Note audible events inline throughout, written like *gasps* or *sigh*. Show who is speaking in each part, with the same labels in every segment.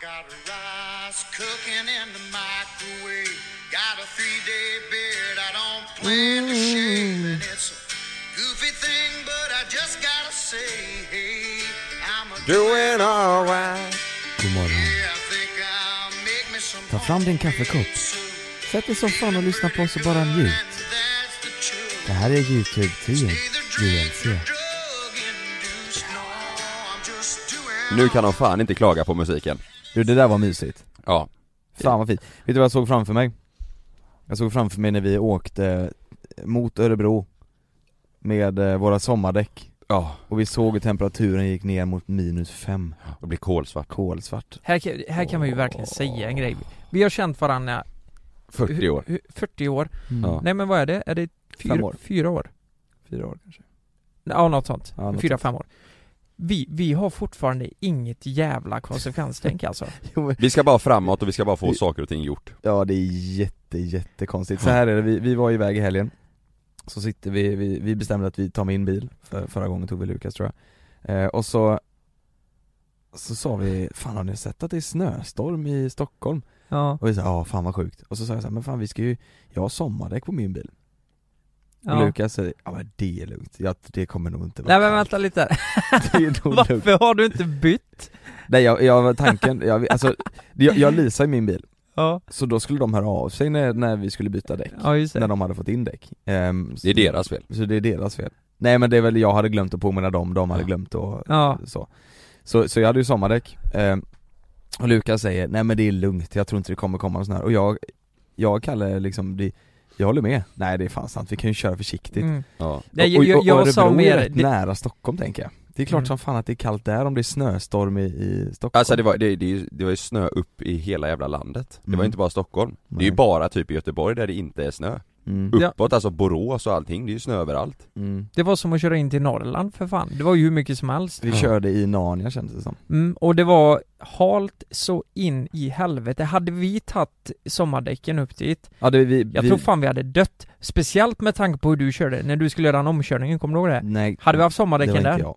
Speaker 1: got rice cooking in the microwave. Got a three day beard I don't plan to shave. And it's a goofy thing, but I just gotta say, hey, I'm a
Speaker 2: Doing alright.
Speaker 3: God morgon.
Speaker 1: Yeah, I think I'll make me some
Speaker 3: Ta fram din kaffekopp.
Speaker 1: soup.
Speaker 3: Sätt dig i soffan och lyssna på oss och bara njut.
Speaker 1: And that's the truth.
Speaker 3: Det här är Youtube 10,
Speaker 1: Either drink
Speaker 3: JLC.
Speaker 1: or drug induced. No, I'm just doing
Speaker 2: Nu kan de fan inte klaga på musiken.
Speaker 3: Du, det där var mysigt.
Speaker 2: Ja.
Speaker 3: Fan vad fint. Vet du vad jag såg framför mig? Jag såg framför mig när vi åkte mot Örebro med eh, våra sommardäck
Speaker 2: Ja.
Speaker 3: och vi såg hur temperaturen gick ner mot minus fem,
Speaker 2: Det blir kolsvart.
Speaker 3: kolsvart.
Speaker 4: Här, kan- här kan man ju verkligen säga en grej. Vi har känt varandra
Speaker 2: 40 år.
Speaker 4: hu- hu- 40 år.
Speaker 3: *laughs*
Speaker 2: Ja.
Speaker 4: Nej men vad är det? Är det fyra
Speaker 3: Fem år.
Speaker 4: Fyra år?
Speaker 3: Fyra år kanske.
Speaker 4: Ja något sånt.
Speaker 3: Ja, något
Speaker 4: fyra,
Speaker 3: sånt.
Speaker 4: fem år. Vi, vi har fortfarande inget jävla konsekvenstänk alltså.
Speaker 2: Vi ska bara framåt och vi ska bara få saker och ting gjort.
Speaker 3: Ja det är jätte, jättekonstigt. Så här är det, vi, vi var iväg i helgen Så sitter vi, vi, vi bestämde att vi tar min bil, för, förra gången tog vi Lukas tror jag eh, Och så Så sa vi, fan har ni sett att det är snöstorm i Stockholm?
Speaker 4: Ja.
Speaker 3: Och vi sa, *laughs* ja fan vad sjukt Och så sa jag så här, men fan vi ska ju, jag har sommardäck på min bil Och
Speaker 4: ja.
Speaker 3: Lukas säger, ja men det är lugnt, ja, det kommer nog inte vara
Speaker 4: Nej men
Speaker 3: kallt." *laughs*
Speaker 4: vänta lite.
Speaker 3: Det är nog lugnt.
Speaker 4: *laughs* Varför har du inte bytt?
Speaker 3: Nej jag, jag, tanken, jag, alltså, jag, jag leasar ju min bil
Speaker 4: Ja,
Speaker 3: Så då skulle de höra av sig när, när vi skulle byta däck
Speaker 4: ja just
Speaker 3: när
Speaker 4: det.
Speaker 3: de hade fått in däck. Ehm,
Speaker 2: Det är deras fel.
Speaker 3: Så det är deras fel. Nej men det är väl, jag hade glömt att påminna dem, de hade
Speaker 2: Ja.
Speaker 3: glömt att
Speaker 4: Ja.
Speaker 3: så. så. Så jag hade ju sommardäck, Ehm, och Lukas säger nej men det är lugnt, jag tror inte det kommer komma någon sån här. Och jag, jag och Kalle liksom, det, jag håller med. Nej det är fan sant, vi kan ju köra försiktigt.
Speaker 4: Mm.
Speaker 2: Ja.
Speaker 4: Nej,
Speaker 3: och,
Speaker 4: jag, jag,
Speaker 3: och, och
Speaker 4: jag sa
Speaker 3: Örebro är
Speaker 4: mer,
Speaker 3: rätt
Speaker 4: det,
Speaker 3: nära Stockholm tänker jag. Det är klart
Speaker 4: Mm.
Speaker 3: som fan att det är kallt där om det är snöstorm i, i Stockholm.
Speaker 2: Alltså det var, det, det, är ju- det var ju snö upp i hela jävla landet. Det var
Speaker 3: Mm.
Speaker 2: ju inte bara Stockholm. Det är
Speaker 3: Nej.
Speaker 2: ju bara typ i Göteborg där det inte är snö.
Speaker 3: mm.
Speaker 4: Ja.
Speaker 2: Uppåt, alltså Borås och allting, det är ju snö överallt.
Speaker 3: Mm.
Speaker 4: det var som att köra in till Norrland för fan. Det var ju hur mycket som helst.
Speaker 3: Vi körde i Narnia kändes det som.
Speaker 4: Mm, och det var halt så in i helvete. Hade vi tagit sommardäcken upp dit,
Speaker 3: Ja, det, vi,
Speaker 4: jag
Speaker 3: vi,
Speaker 4: tror fan vi hade dött. Speciellt med tanke på hur du körde, när du skulle göra den omkörningen, kommer du ihåg det?
Speaker 3: Nej,
Speaker 4: Hade vi haft
Speaker 3: det var
Speaker 4: sommardäcken
Speaker 3: inte
Speaker 4: där?
Speaker 3: jag.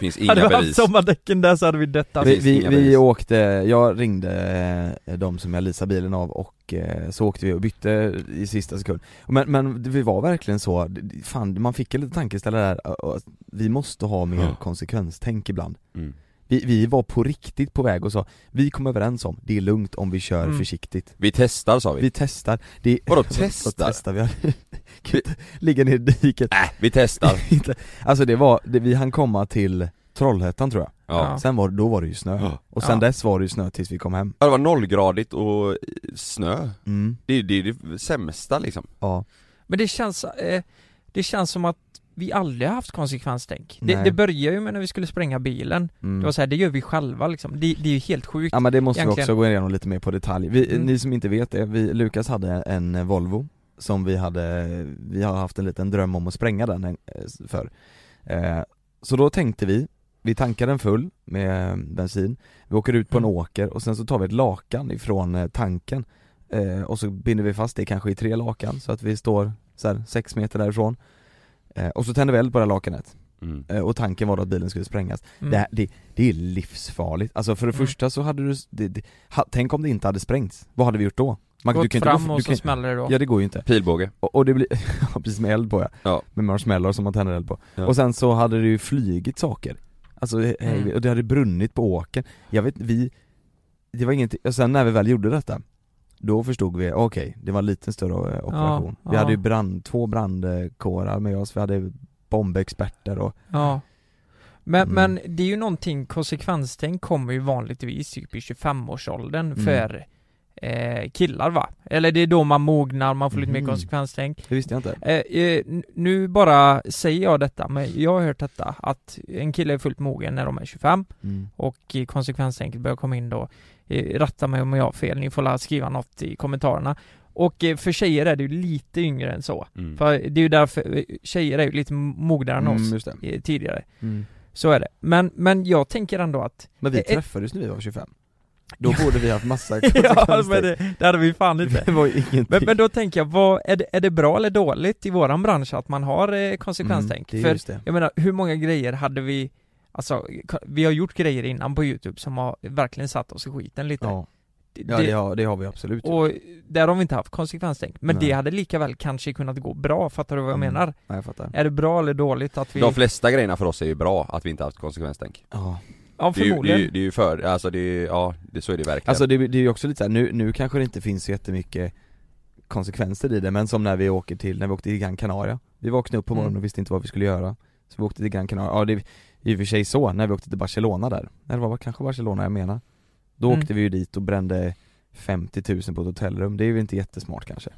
Speaker 2: Det *laughs* finns
Speaker 4: hade
Speaker 2: inga
Speaker 4: vi haft
Speaker 2: bevis.
Speaker 4: sommardäcken där så hade vi dött alltså.
Speaker 3: Vi,
Speaker 2: Precis,
Speaker 3: vi,
Speaker 2: inga
Speaker 3: vi
Speaker 2: bevis.
Speaker 3: åkte, jag ringde eh, de som jag leasade bilen av och eh, så åkte vi och bytte i sista sekund Men, men vi var verkligen så, det- det- fan man fick en liten tankeställare där, ö- ö, att vi måste ha mer
Speaker 2: Ja.
Speaker 3: konsekvenstänk ibland
Speaker 2: Mm.
Speaker 3: vi, vi var på riktigt på väg och sa, vi kom överens om, det är lugnt om vi kör
Speaker 4: Mm.
Speaker 3: försiktigt
Speaker 2: Vi testar sa vi.
Speaker 3: Vi testar, det *laughs*
Speaker 2: Vadå
Speaker 3: vad
Speaker 2: testar?
Speaker 3: testar vi? *laughs* Kan inte Ligga ner i diket
Speaker 2: Äh, vi *laughs* testar.
Speaker 3: Inte- Alltså det var, det, vi hann komma till Trollhättan tror jag,
Speaker 2: Ja.
Speaker 4: Ja.
Speaker 3: sen var, då var det ju snö
Speaker 2: ja.
Speaker 3: och sen
Speaker 4: Ja.
Speaker 3: dess var det ju snö tills vi kom hem
Speaker 2: Det var nollgradigt och eh, snö.
Speaker 3: Mm,
Speaker 2: Det är det, är det sämsta liksom.
Speaker 3: ja.
Speaker 4: Men det känns, eh, det känns som att vi aldrig har haft konsekvenstänk.
Speaker 3: Nej.
Speaker 4: Det, det börjar ju med när vi skulle spränga bilen.
Speaker 3: Mm.
Speaker 4: Det var så här, det gör vi själva liksom. Det, det är ju helt sjukt.
Speaker 3: ja men det måste vi
Speaker 4: egentligen-
Speaker 3: också gå igenom lite mer på detalj. Vi,
Speaker 4: Mm.
Speaker 3: Ni som inte vet det, vi, Lukas hade en eh, Volvo som vi hade, vi har haft en liten dröm om att spränga den eh, för. Eh, så då tänkte vi, vi tankar den full med eh, bensin, vi åker ut på en
Speaker 4: Mm.
Speaker 3: åker och sen så tar vi ett lakan ifrån eh, tanken eh, och så binder vi fast det kanske i tre lakan så att vi står så här, sex meter därifrån. Eh, och så tänder vi eld på det här lakanet
Speaker 2: Mm.
Speaker 3: eh, och tanken var då att bilen skulle sprängas.
Speaker 4: Mm.
Speaker 3: Det, här- det, det är livsfarligt, alltså för det
Speaker 4: Mm.
Speaker 3: första så hade du, det, det, ha, tänk om det inte hade sprängts, vad hade vi gjort då? Man,
Speaker 4: Gått
Speaker 3: du kan inte gå
Speaker 4: fram
Speaker 3: f-
Speaker 4: och
Speaker 3: du
Speaker 4: så
Speaker 3: kan-
Speaker 4: smäller det då.
Speaker 3: Ja det går ju inte,
Speaker 2: Pilbåge.
Speaker 3: och, och det blir, *laughs* ja, precis med eld på ja,
Speaker 2: Ja.
Speaker 3: med marshmallows som man tänder eld på.
Speaker 2: Ja.
Speaker 3: Och sen så hade det ju flygit saker, alltså he- hej,
Speaker 4: Mm.
Speaker 3: och det hade brunnit på åkern, jag vet, vi, det var ingenting, och sen när vi väl gjorde detta då förstod vi, okej, det var en liten större eh, operation. vi
Speaker 4: ja.
Speaker 3: hade ju brand, två brandkårar med oss, vi hade bombexperter och
Speaker 4: Ja. Men,
Speaker 3: Mm.
Speaker 4: men det är ju någonting, konsekvenstänk kommer ju vanligtvis typ i 25-årsåldern
Speaker 3: Mm.
Speaker 4: för eh, killar va? Eller det är då man mognar, man får lite
Speaker 3: Mhm.
Speaker 4: mer konsekvenstänk.
Speaker 3: det visste jag inte.
Speaker 4: Eh, eh, n- nu bara säger jag detta, men jag har hört detta att en kille är fullt mogen när de är 25
Speaker 3: Mm.
Speaker 4: och eh, konsekvenstänket börjar komma in då. Eh, rätta mig om jag har fel, ni får la skriva något i kommentarerna. Och eh, för tjejer är det ju lite yngre än så.
Speaker 2: Mm.
Speaker 4: För det är ju därför, eh, tjejer är ju lite mognare än
Speaker 3: Mm,
Speaker 4: oss
Speaker 3: just det.
Speaker 4: eh, tidigare.
Speaker 3: Mm.
Speaker 4: Så är det. Men, men jag tänker ändå
Speaker 3: *laughs*
Speaker 4: att...
Speaker 3: Men vi
Speaker 4: Eh, eh.
Speaker 3: träffades när vi var 25 Då borde vi haft *laughs* massa
Speaker 4: ja, men
Speaker 3: konsekvenser
Speaker 4: det, det hade vi fan inte.
Speaker 3: Det var ju ingenting Mm,
Speaker 4: Men, men då tänker jag, vad, är, det, är det bra eller dåligt i våran bransch att man har eh, konsekvenstänk?
Speaker 3: Mm, det är
Speaker 4: För
Speaker 3: just det.
Speaker 4: jag menar, hur många grejer hade vi Alltså, k- vi har gjort grejer innan på youtube som har verkligen satt oss i skiten lite
Speaker 3: Ja,
Speaker 4: Det-
Speaker 3: ja det, har, det har vi absolut gjort.
Speaker 4: Och där har vi inte haft konsekvenstänk, men
Speaker 3: Nej.
Speaker 4: det hade lika väl kanske kunnat gå bra, fattar du vad jag
Speaker 3: Mm.
Speaker 4: menar?
Speaker 3: Nej, jag fattar
Speaker 4: Är det bra eller dåligt att vi...
Speaker 2: De flesta grejerna för oss är ju bra, att vi inte haft konsekvenstänk
Speaker 3: Ja.
Speaker 4: ja,
Speaker 2: det är, ju, det, är ju,
Speaker 4: förmodligen.
Speaker 2: det är ju för, alltså det är ju, ja, det, så är det verkligen
Speaker 3: Alltså det, det är ju också lite så här, nu, nu kanske det inte finns så jättemycket konsekvenser i det, men som när vi åker till, när vi åkte till Gran Canaria Vi vaknade upp på morgonen
Speaker 4: Mm.
Speaker 3: och visste inte vad vi skulle göra Så vi åkte till Gran Canaria, ja det är i och för sig så, när vi åkte till Barcelona där Eller var det kanske Barcelona jag menar Då
Speaker 4: Mm.
Speaker 3: åkte vi ju dit och brände 50 000 på ett hotellrum, det är ju inte jättesmart kanske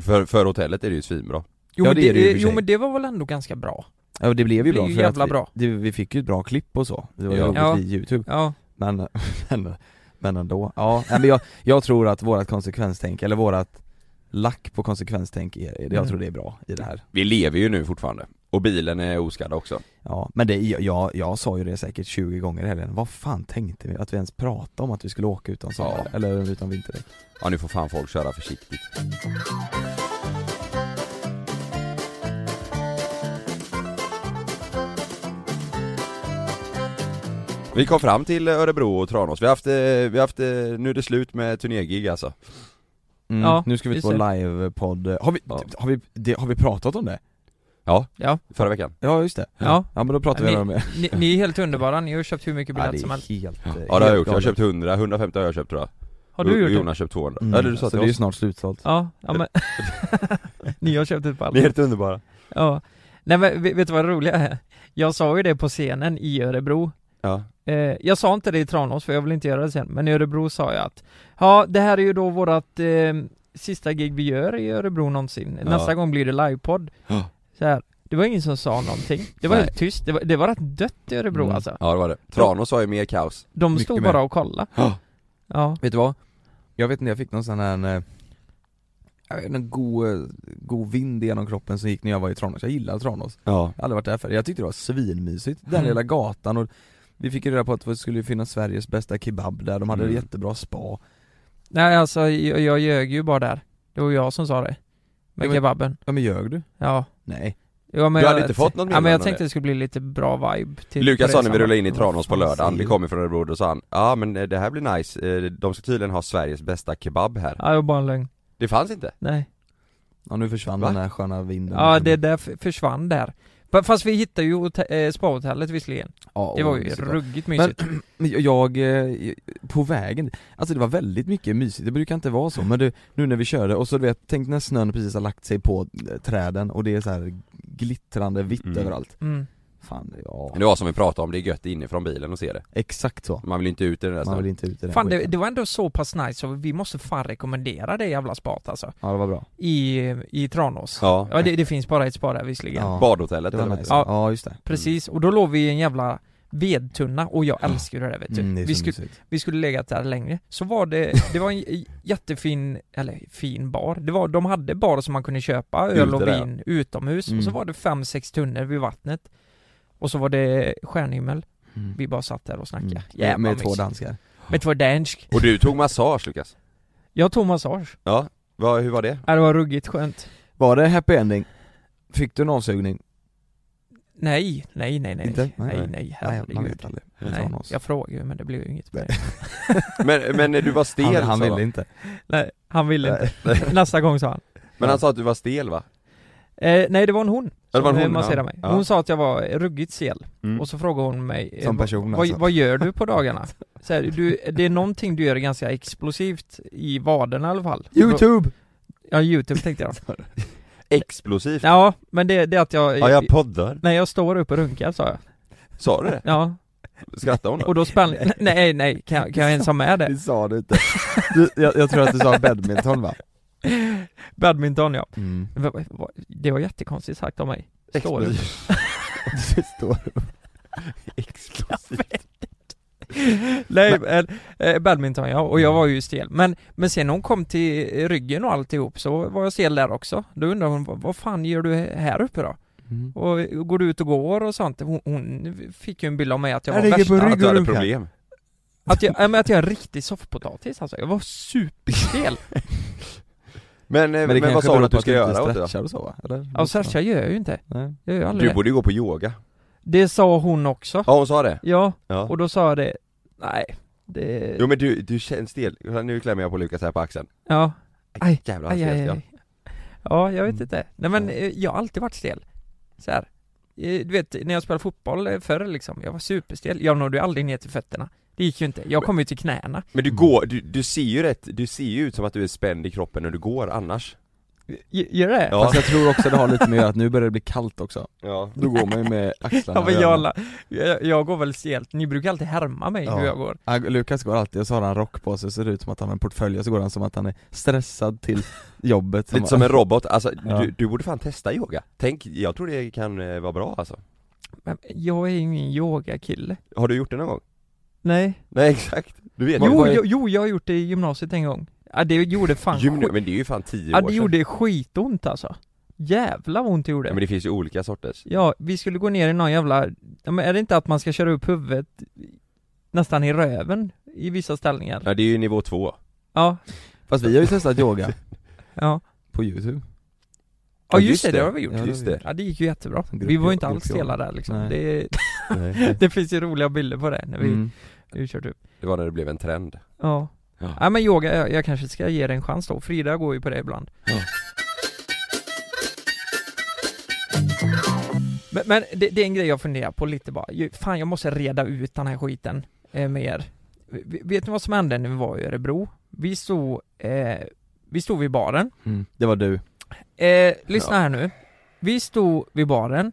Speaker 2: för, för hotellet är det ju svinbra
Speaker 4: Jo,
Speaker 3: Ja,
Speaker 4: men
Speaker 3: det är det ju i och för
Speaker 4: jo
Speaker 3: sig.
Speaker 4: men det var väl ändå ganska bra?
Speaker 3: Ja och det blev ju
Speaker 4: Det blir
Speaker 3: bra
Speaker 4: ju
Speaker 3: för
Speaker 4: jävla
Speaker 3: att vi,
Speaker 4: bra.
Speaker 3: Det, vi fick ju ett bra klipp och så, det var ju
Speaker 2: Ja.
Speaker 3: roligt
Speaker 4: Ja.
Speaker 3: i youtube
Speaker 4: Ja,
Speaker 3: Men, *laughs* men, men ändå, ja, nej, men jag, jag tror att vårat konsekvenstänk, eller vårat lack på konsekvenstänk, är, jag
Speaker 4: Mm.
Speaker 3: tror det är bra i det här
Speaker 2: Vi lever ju nu fortfarande, och bilen är oskadd också
Speaker 3: Ja, men det, jag, jag, jag sa ju det säkert 20 gånger i helgen, vad fan tänkte vi att vi ens pratade om att vi skulle åka utan sommar,
Speaker 2: Ja.
Speaker 3: eller utan vinterdäck?
Speaker 2: Ja nu får fan folk köra försiktigt Vi kom fram till Örebro och Tranås, vi har haft, eh, vi har haft, eh, nu är det slut med turnégig alltså
Speaker 3: Mm.
Speaker 4: Ja,
Speaker 3: nu ska vi ut på
Speaker 4: just
Speaker 3: livepodd, har vi,
Speaker 2: Ja.
Speaker 3: har, vi, det, har vi pratat om det?
Speaker 4: ja,
Speaker 2: Förra veckan?
Speaker 3: Ja just det,
Speaker 4: ja.
Speaker 3: ja men då pratar vi
Speaker 4: Ni-
Speaker 3: om det
Speaker 4: Ni, ni är helt underbara, ni har köpt hur mycket
Speaker 3: Ja
Speaker 4: biljetter
Speaker 3: det
Speaker 4: som
Speaker 3: är
Speaker 4: helst.
Speaker 3: helt eh,
Speaker 2: Ja det har
Speaker 3: helt
Speaker 2: jag gjort, jag har
Speaker 3: galet.
Speaker 2: köpt 100, 150 har jag köpt tror jag
Speaker 4: Har du
Speaker 2: Och
Speaker 4: gjort det?
Speaker 2: Jonas köpt 200,
Speaker 3: Mm.
Speaker 2: ja det du sa
Speaker 3: så
Speaker 2: till
Speaker 3: det är ju
Speaker 2: oss
Speaker 3: snart slutsålt
Speaker 4: Ja,
Speaker 2: *laughs*
Speaker 4: ja men... ni har köpt ett pall.
Speaker 2: Ni är helt underbara
Speaker 4: Ja. Nej men vet vet du vad det roliga är? Jag sa ju det på scenen i Örebro
Speaker 2: Ja,
Speaker 4: Eh, jag sa inte det i Tranås för jag vill inte göra det sen, men i Örebro sa jag att Ja, det här är ju då vårat eh, sista gig vi gör i Örebro någonsin.
Speaker 2: Ja.
Speaker 4: Nästa gång blir det livepodd.
Speaker 2: Ja.
Speaker 4: Så här, det var ingen som sa någonting. Det var
Speaker 2: Nej.
Speaker 4: helt tyst, det var, det var rätt dött i Örebro
Speaker 3: Mm.
Speaker 4: alltså.
Speaker 2: ja det var det Tranås har ju mer kaos
Speaker 4: De
Speaker 3: Mycket
Speaker 4: stod
Speaker 3: mer.
Speaker 4: bara och kollade.
Speaker 2: Ja.
Speaker 4: Ja.
Speaker 3: Vet du vad? Jag vet inte, jag fick någon sån här eh, jag vet inte, en god, eh, god vind genom kroppen som gick när jag var i Tranås, jag gillar Tranås
Speaker 2: Ja
Speaker 3: Jag har aldrig varit där förr, jag tyckte det var svinmysigt, den
Speaker 4: Mm. *laughs*
Speaker 3: lilla gatan och vi fick ju reda på att det skulle finnas Sveriges bästa kebab där, de hade
Speaker 2: Mm.
Speaker 3: jättebra spa
Speaker 4: Nej alltså, jag, jag ljög ju bara där. Det var jag som sa det.
Speaker 3: Ja,
Speaker 4: Med
Speaker 3: men-
Speaker 4: kebaben.
Speaker 3: Ja men ljög du?
Speaker 4: Ja.
Speaker 3: Nej
Speaker 4: Ja, men
Speaker 2: Du
Speaker 4: jag-
Speaker 2: hade inte fått något
Speaker 4: Ja men jag
Speaker 2: meddelande?
Speaker 4: tänkte det skulle bli lite bra vibe till
Speaker 2: Lukas
Speaker 4: på
Speaker 2: sa när vi
Speaker 4: resan.
Speaker 2: rullade in i
Speaker 3: Vad
Speaker 2: Tranås på
Speaker 3: fan
Speaker 2: lördagen,
Speaker 3: säger
Speaker 2: vi
Speaker 3: du?
Speaker 2: kommer från Örebro, då sa han Ja men eh, det här blir nice, Eh, de ska tydligen ha Sveriges bästa kebab här
Speaker 4: Ja, det var bara en lögn.
Speaker 2: Det fanns inte?
Speaker 4: Nej.
Speaker 3: Ja nu försvann
Speaker 2: Va?
Speaker 3: den här sköna
Speaker 2: Mm.
Speaker 3: vinden
Speaker 4: Ja, det där f- försvann där. Fa- Fast vi hittade ju hotell- eh, spahotellet visserligen.
Speaker 3: Ja,
Speaker 4: Det var
Speaker 3: åh,
Speaker 4: ju
Speaker 3: mysigt.
Speaker 4: ruggigt mysigt.
Speaker 3: Men jag, eh, på vägen, alltså det var väldigt mycket mysigt, det brukar inte vara så men du, nu när vi körde och så du vet, tänk när snön precis har lagt sig på eh, träden och det är så här glittrande vitt
Speaker 2: Mm.
Speaker 3: överallt
Speaker 4: Mm.
Speaker 3: Fan, ja,
Speaker 2: Det var som vi pratade om, det är gött inifrån bilen och se det
Speaker 3: exakt så,
Speaker 2: Man vill ju inte ut i den där
Speaker 3: man
Speaker 2: snön
Speaker 3: vill inte ut i den
Speaker 4: Alltså, Fan det,
Speaker 3: skiten.
Speaker 4: det var ändå så pass nice så vi måste fan rekommendera det jävla spat alltså.
Speaker 3: Ja det var bra,
Speaker 4: I, i Tranås. Ja,
Speaker 2: Ja,
Speaker 4: det, det finns bara ett spa där visserligen.
Speaker 3: ja,
Speaker 2: badhotellet
Speaker 3: det var
Speaker 2: eller
Speaker 3: nice,
Speaker 2: vad
Speaker 3: ja,
Speaker 4: Ja.
Speaker 3: just det
Speaker 4: Precis, och då låg vi i en jävla vedtunna och jag älskar ju det där vet du.
Speaker 3: Ah. mm, det är
Speaker 4: Typ. vi,
Speaker 3: så
Speaker 4: skulle,
Speaker 3: mysigt
Speaker 4: vi skulle legat där längre. Så var det, det var en j- jättefin, eller fin bar. Det var, de hade bar som man kunde köpa öl
Speaker 2: Ute
Speaker 4: och
Speaker 2: där.
Speaker 4: vin utomhus.
Speaker 3: Mm.
Speaker 4: Och så var det fem, sex tunnor vid vattnet. Och så var det stjärnhimmel.
Speaker 3: Mm.
Speaker 4: Vi bara satt där och snackade.
Speaker 3: Mm.
Speaker 4: Jävla
Speaker 3: Med, med två
Speaker 4: mysigt.
Speaker 3: danskar
Speaker 4: Med två dansk.
Speaker 2: det Och du tog massage Lukas?
Speaker 4: Jag tog massage.
Speaker 2: Ja, vad, hur var det?
Speaker 4: Ja, Det var ruggigt skönt.
Speaker 3: Var det happy ending? Fick du en avsugning?
Speaker 4: Nej, nej, nej, nej.
Speaker 3: Inte? Nej,
Speaker 4: Nej, nej,
Speaker 3: nej. Nej, man vet
Speaker 4: herregud.
Speaker 3: aldrig
Speaker 4: Nej,
Speaker 3: från oss.
Speaker 4: jag frågade ju men det blev ju inget med det.
Speaker 2: Men, men eh, du var stel
Speaker 3: Han, han
Speaker 2: sa
Speaker 3: ville
Speaker 2: de.
Speaker 3: inte
Speaker 4: Nej, han ville inte. Nästa gång sa han.
Speaker 2: Men han sa att du var stel va?
Speaker 4: Eh, nej, det var en hon
Speaker 2: Ja, det var en
Speaker 4: som, eh,
Speaker 2: hon, ja.
Speaker 4: masserade mig.
Speaker 2: Ja.
Speaker 4: Hon sa att jag var eh, ruggigt stel.
Speaker 2: Mm.
Speaker 4: Och så frågade hon mig eh,
Speaker 3: Som
Speaker 4: vad-
Speaker 3: person,
Speaker 4: vad,
Speaker 3: alltså.
Speaker 4: vad gör du
Speaker 3: *laughs*
Speaker 4: på dagarna? Så här, du, det är någonting du gör ganska explosivt i vaderna i alla fall.
Speaker 3: Youtube!
Speaker 4: Ja, Youtube tänkte jag. *laughs*
Speaker 2: Explosivt?
Speaker 4: Ja, men det, det är att jag...
Speaker 2: Ja jag poddar
Speaker 4: Nej, jag står upp och runkar sa jag.
Speaker 2: Sa du det?
Speaker 4: Ja,
Speaker 2: Skrattade hon då?
Speaker 4: och då spann...
Speaker 3: *laughs*
Speaker 4: *laughs* Nej, nej, kan, jag- kan jag ens ha med det?
Speaker 3: Det sa du inte du, jag, jag tror att du sa badminton va?
Speaker 4: Badminton ja.
Speaker 3: Mm.
Speaker 4: Va- va- va- Det var jättekonstigt sagt av mig. Står upp.
Speaker 2: Explosivt
Speaker 3: Det står
Speaker 2: Explosivt
Speaker 4: Nej, men, eh, badminton ja, och jag var ju stel. Men, men sen när hon kom till eh, ryggen och alltihop så var jag stel där också. Då undrar hon, "Vad- vad fan gör du här uppe då?
Speaker 3: Mm.
Speaker 4: Och eh, går du ut och går och sånt? Hon, hon fick ju en bild av mig att jag
Speaker 3: Jag
Speaker 4: var
Speaker 3: ligger på
Speaker 4: värsta...
Speaker 3: rygg.
Speaker 2: Att du hade
Speaker 3: Ryggor
Speaker 2: problem
Speaker 4: Att jag, äh, men att jag är en riktig soffpotatis alltså. Jag var superstel.
Speaker 2: Men, eh, men, vad sa du att du ska göra åt det då?
Speaker 3: och så va? Eller?
Speaker 4: Ja, stretchar gör Alltså, jag ju inte.
Speaker 3: Nej.
Speaker 4: Jag gör ju aldrig
Speaker 2: Du
Speaker 4: det.
Speaker 2: borde ju gå på yoga
Speaker 4: Det sa hon också.
Speaker 2: Ja hon sa det?
Speaker 4: Ja,
Speaker 2: Ja.
Speaker 4: och då sa jag det, nej, det...
Speaker 2: Jo men du, du känns stel, nu klämmer jag på Lukas här på axeln
Speaker 4: Ja, Aj.
Speaker 2: Jävlar vad
Speaker 4: aj,
Speaker 2: stelt
Speaker 4: aj,
Speaker 2: jag
Speaker 4: aj. Ja, jag vet
Speaker 3: Mm.
Speaker 4: inte. Nej men
Speaker 3: Ja.
Speaker 4: eh, jag har alltid varit stel. Så här. Eh, Du vet, när jag spelade fotboll eh, förr liksom, jag var superstel. Jag nådde ju aldrig ner till fötterna. Det gick ju inte. Jag kom ju till knäna.
Speaker 2: Men du
Speaker 3: Mm.
Speaker 2: går, du, du ser ju rätt, du ser ju ut som att du är spänd i kroppen när du går annars
Speaker 4: Gör det?
Speaker 2: Ja.
Speaker 3: Fast jag tror också det har lite med att göra att nu börjar det bli kallt också
Speaker 2: Ja
Speaker 3: Då går man ju med axlarna
Speaker 4: Ja, men
Speaker 3: över.
Speaker 4: jag, la- jag, jag går väl stelt, ni brukar alltid härma mig
Speaker 3: Ja.
Speaker 4: hur jag går
Speaker 3: Ja, Lukas går alltid och så har han rock på sig och ser ut som att han har en portfölj och så går han som att han är stressad till jobbet
Speaker 2: Lite som en robot, alltså
Speaker 3: Ja.
Speaker 2: du, du borde fan testa yoga Tänk, jag tror det kan eh, vara bra alltså
Speaker 4: Men jag är ju ingen yogakille
Speaker 2: Har du gjort det någon gång?
Speaker 4: Nej
Speaker 2: Nej *laughs* exakt, du vet
Speaker 4: jo,
Speaker 2: Vad är-
Speaker 4: jo, jo, jag har gjort det i gymnasiet en gång Ja det gjorde fan
Speaker 2: Gymna-
Speaker 4: skit-
Speaker 2: men det är ju fan 10
Speaker 4: Ja
Speaker 2: år
Speaker 4: det
Speaker 2: sedan
Speaker 4: gjorde skitont alltså Jävla vad ont det gjorde
Speaker 2: ja, men det finns ju olika sorters
Speaker 4: Ja, vi skulle gå ner i någon jävla, ja, men är det inte att man ska köra upp huvudet nästan i röven i vissa ställningar?
Speaker 2: Ja det är ju nivå två
Speaker 4: Ja,
Speaker 3: Fast vi har ju testat yoga
Speaker 4: ja.
Speaker 3: på youtube
Speaker 4: Ja just det, det har vi *laughs* gjort.
Speaker 3: Ja,
Speaker 2: Just det,
Speaker 4: Ja det gick ju jättebra.
Speaker 3: Som grupp-
Speaker 4: Vi var ju inte alls
Speaker 3: gruppjobb.
Speaker 4: stela där liksom.
Speaker 3: Nej.
Speaker 4: Det, *laughs*
Speaker 2: Nej.
Speaker 4: det finns ju roliga bilder på det när vi,
Speaker 3: Mm.
Speaker 4: vi kört upp.
Speaker 2: *laughs* det var när det blev en trend
Speaker 4: Ja.
Speaker 2: Ja.
Speaker 4: Ja men yoga, jag, jag kanske ska ge det en chans då. Frida går ju på det ibland.
Speaker 3: Ja.
Speaker 4: Men, men det, det är en grej jag funderar på lite bara. Ju- Fan jag måste reda ut den här skiten eh, med er. V- Vet ni vad som hände när vi var i Örebro? Vi stod, eh, vi stod vid baren
Speaker 3: Mm. Det var du
Speaker 4: Eh, lyssna
Speaker 2: Ja.
Speaker 4: här nu. Vi stod vid baren,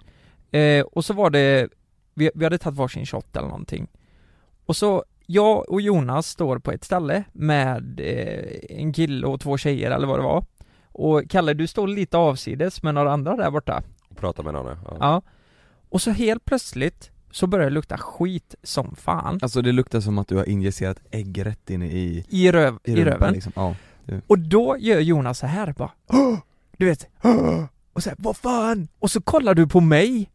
Speaker 4: eh, och så var det, vi, vi hade tagit varsin shot eller någonting. Och så, jag och Jonas står på ett ställe med eh, en kille och två tjejer eller vad det var. Och Kalle, du står lite avsides med några andra där borta.
Speaker 2: och prata med någon ja.
Speaker 4: Ja. Och så helt plötsligt så börjar det lukta skit som fan.
Speaker 3: Alltså det luktar som att du har injicerat ägg rätt in i,
Speaker 4: I, röv, i,
Speaker 3: rumpan,
Speaker 4: röven.
Speaker 3: liksom. ja.
Speaker 4: Och då gör Jonas så här bara "Åh!" Du vet "Åh!" Och så här, vad fan? Och så kollar du på mig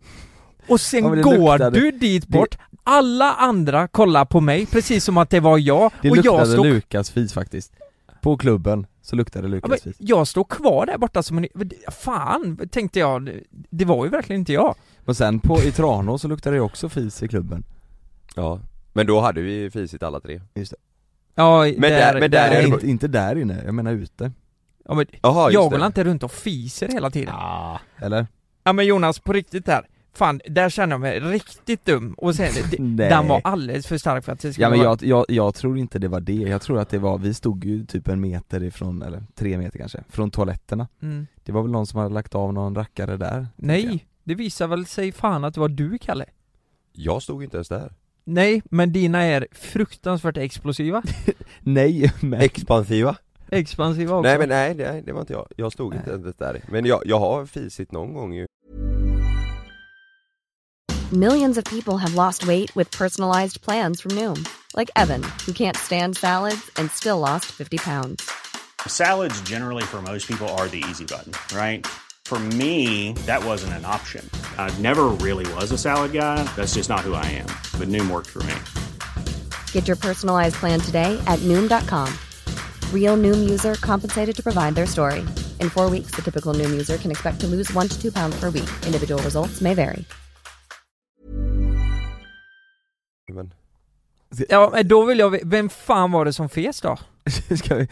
Speaker 4: Och sen
Speaker 3: Ja, men det
Speaker 4: går
Speaker 3: luktade-
Speaker 4: du dit bort Alla andra kollar på mig precis som att det var jag
Speaker 3: Det
Speaker 4: Och jag
Speaker 3: luktade
Speaker 4: stod,
Speaker 3: Lukas fis faktiskt På klubben så luktade
Speaker 4: ja, men
Speaker 3: Lukas fis
Speaker 4: jag stod kvar där borta som en Fan, tänkte jag Det- Det var ju verkligen inte jag
Speaker 3: Och sen på, i Tranås så luktade det också fis i klubben
Speaker 2: ja Men då hade vi fisit alla tre
Speaker 4: Ja,
Speaker 2: Men där- men där är
Speaker 3: Nej,
Speaker 2: det-
Speaker 3: inte, inte där inne, jag menar ute
Speaker 4: ja, men,
Speaker 2: Jaha,
Speaker 4: Jag går inte runt och fiser hela tiden
Speaker 3: ah. Eller?
Speaker 4: Ja men Jonas, på riktigt där Fan, där känner jag mig riktigt dum och sen,
Speaker 3: *laughs* Nej.
Speaker 4: den var alldeles för stark för att det skulle
Speaker 3: Ja men
Speaker 4: vara-
Speaker 3: jag, jag, jag tror inte det var det, jag tror att det var, vi stod ju typ en meter ifrån, eller tre meter kanske, från toaletterna
Speaker 4: mm.
Speaker 3: Det var väl någon som hade lagt av någon rackare där tänker
Speaker 4: Nej, det visar väl sig fan att det var du Kalle?
Speaker 2: Jag stod inte ens där
Speaker 4: Nej, men dina är fruktansvärt *laughs* explosiva,
Speaker 3: jag. Nej *laughs*
Speaker 4: Eh.
Speaker 3: men,
Speaker 2: Expansiva?
Speaker 4: expansiva också
Speaker 2: Nej men nej, nej, det var inte jag, jag stod inte
Speaker 4: Nej.
Speaker 2: ens där Men jag, jag har fisit någon gång ju
Speaker 5: Millions of people have lost weight with personalized plans from Noom, like Evan, who can't stand salads and still lost 50 pounds.
Speaker 6: Salads, generally, for most people, are the easy button, right? For me, that wasn't an option. I never really was a salad guy. That's just not who I am. But Noom worked for me.
Speaker 5: Get your personalized plan today at Noom.com. Real Noom user compensated to provide their story. In four weeks, the typical Noom user can expect to lose one to two pounds per week. Individual results may vary.
Speaker 2: men,
Speaker 4: Ja men då vill jag ve- vem fan var det som fes då?
Speaker 3: *laughs* ska vi,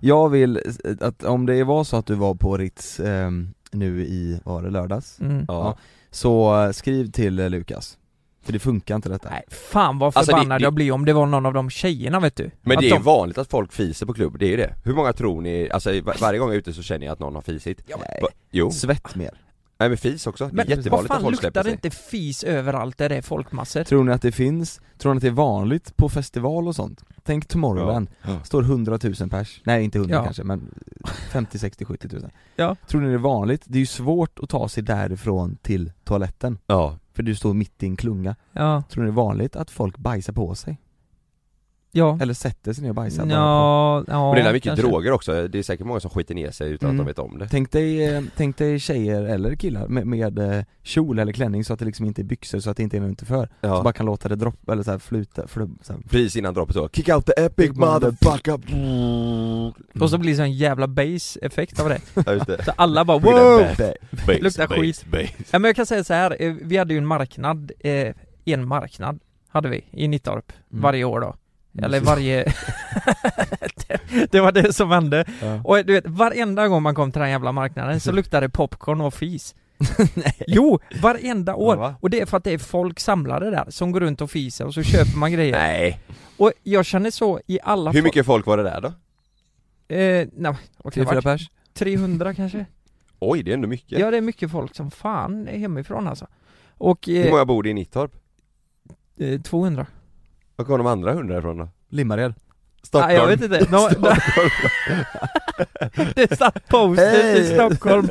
Speaker 3: jag vill eh, att om det var så att du var på Ritz ehm, nu i, var det lördags?
Speaker 4: Mm.
Speaker 2: ja.
Speaker 3: Så eh, skriv till eh, Lukas, för det funkar inte detta
Speaker 4: Nej, fan vad
Speaker 2: Alltså, det-
Speaker 4: förbannad
Speaker 2: det-
Speaker 4: jag blir om det var någon av de tjejerna vet du
Speaker 2: Men
Speaker 4: att
Speaker 2: det är ju
Speaker 4: de...
Speaker 2: vanligt att folk fiser på klubb, det är ju det Hur många tror ni, alltså var, varje gång jag är ute så känner jag att någon har fisit
Speaker 4: Ja, men-
Speaker 2: Va- Jo,
Speaker 3: Svett mer
Speaker 2: nej men fis också, det är
Speaker 4: Eh, Men vad
Speaker 2: jättevanligt att
Speaker 4: fan
Speaker 2: folk släpper
Speaker 4: luktar det
Speaker 2: sig
Speaker 4: inte fis överallt där det är folkmassor?
Speaker 3: Tror ni att det finns, tror ni att det är vanligt på festival och sånt? Tänk Tomorrowland,
Speaker 2: Ja.
Speaker 3: står 100 000 pers, nej inte 100
Speaker 4: Ja.
Speaker 3: kanske men 50, 60, 70 000
Speaker 4: Ja.
Speaker 3: Tror ni det är vanligt? Det är ju svårt att ta sig därifrån till toaletten,
Speaker 2: Ja,
Speaker 3: för du står mitt i en klunga
Speaker 4: Ja,
Speaker 3: Tror ni det är vanligt att folk bajsar på sig?
Speaker 2: Mm.
Speaker 4: Ja,
Speaker 3: Eller sätter sig ner och bajsar bara på.
Speaker 4: ja, ja
Speaker 2: Och det är mycket
Speaker 4: kanske.
Speaker 2: droger också, det är säkert många som skiter ner sig utan
Speaker 3: Mm.
Speaker 2: att de vet om det
Speaker 3: Tänk dig, eh, tänk dig tjejer eller killar med, med eh, kjol eller klänning så att det liksom inte är byxor så att det inte är något för
Speaker 2: ja.
Speaker 3: Så bara kan låta det droppa eller så här fluta, flum, så här.
Speaker 2: Precis innan droppet så, kick out the epic motherfucker!
Speaker 4: Och så blir det sån jävla bass-effekt av det
Speaker 3: *laughs*
Speaker 2: Ja just det,
Speaker 4: Så alla bara
Speaker 2: Blir det
Speaker 4: wow!
Speaker 2: bäst? Bass,
Speaker 4: *laughs* Luktar
Speaker 2: bass,
Speaker 4: skit.
Speaker 2: bass.
Speaker 4: Ja men jag kan säga så här, eh, vi hade ju en marknad, eh, en marknad hade vi i Nittorp
Speaker 3: Mm.
Speaker 4: *laughs* varje år då. Eller varje... *laughs* det, det var det som hände.
Speaker 3: Ja.
Speaker 4: Och eh, du vet, varenda gång man kom till den jävla marknaden så luktade det popcorn och fis. Jo, varenda år!
Speaker 3: Ja, va?
Speaker 4: och det är för att det är folk samlade där som går runt och fiser och så köper man grejer.
Speaker 2: Nej,
Speaker 4: Och jag känner så i alla
Speaker 2: hur mycket folk var det där då?
Speaker 4: fo- Eh, nej, vad kan
Speaker 3: Tre,
Speaker 4: det ha
Speaker 3: fyra
Speaker 4: varit?
Speaker 3: pers?
Speaker 4: 300 kanske?
Speaker 2: Oj det är ändå mycket
Speaker 4: Ja det är mycket folk som fan är hemifrån alltså. Och
Speaker 2: Hur
Speaker 4: eh,
Speaker 2: många bor det i Nittorp?
Speaker 4: eh, 200.
Speaker 2: Var kom de andra hundra ifrån då?
Speaker 3: Limmared?
Speaker 2: Stockholm?
Speaker 4: Nej, jag vet inte. No, *laughs* det satt poster i
Speaker 3: Hej!
Speaker 4: Stockholm.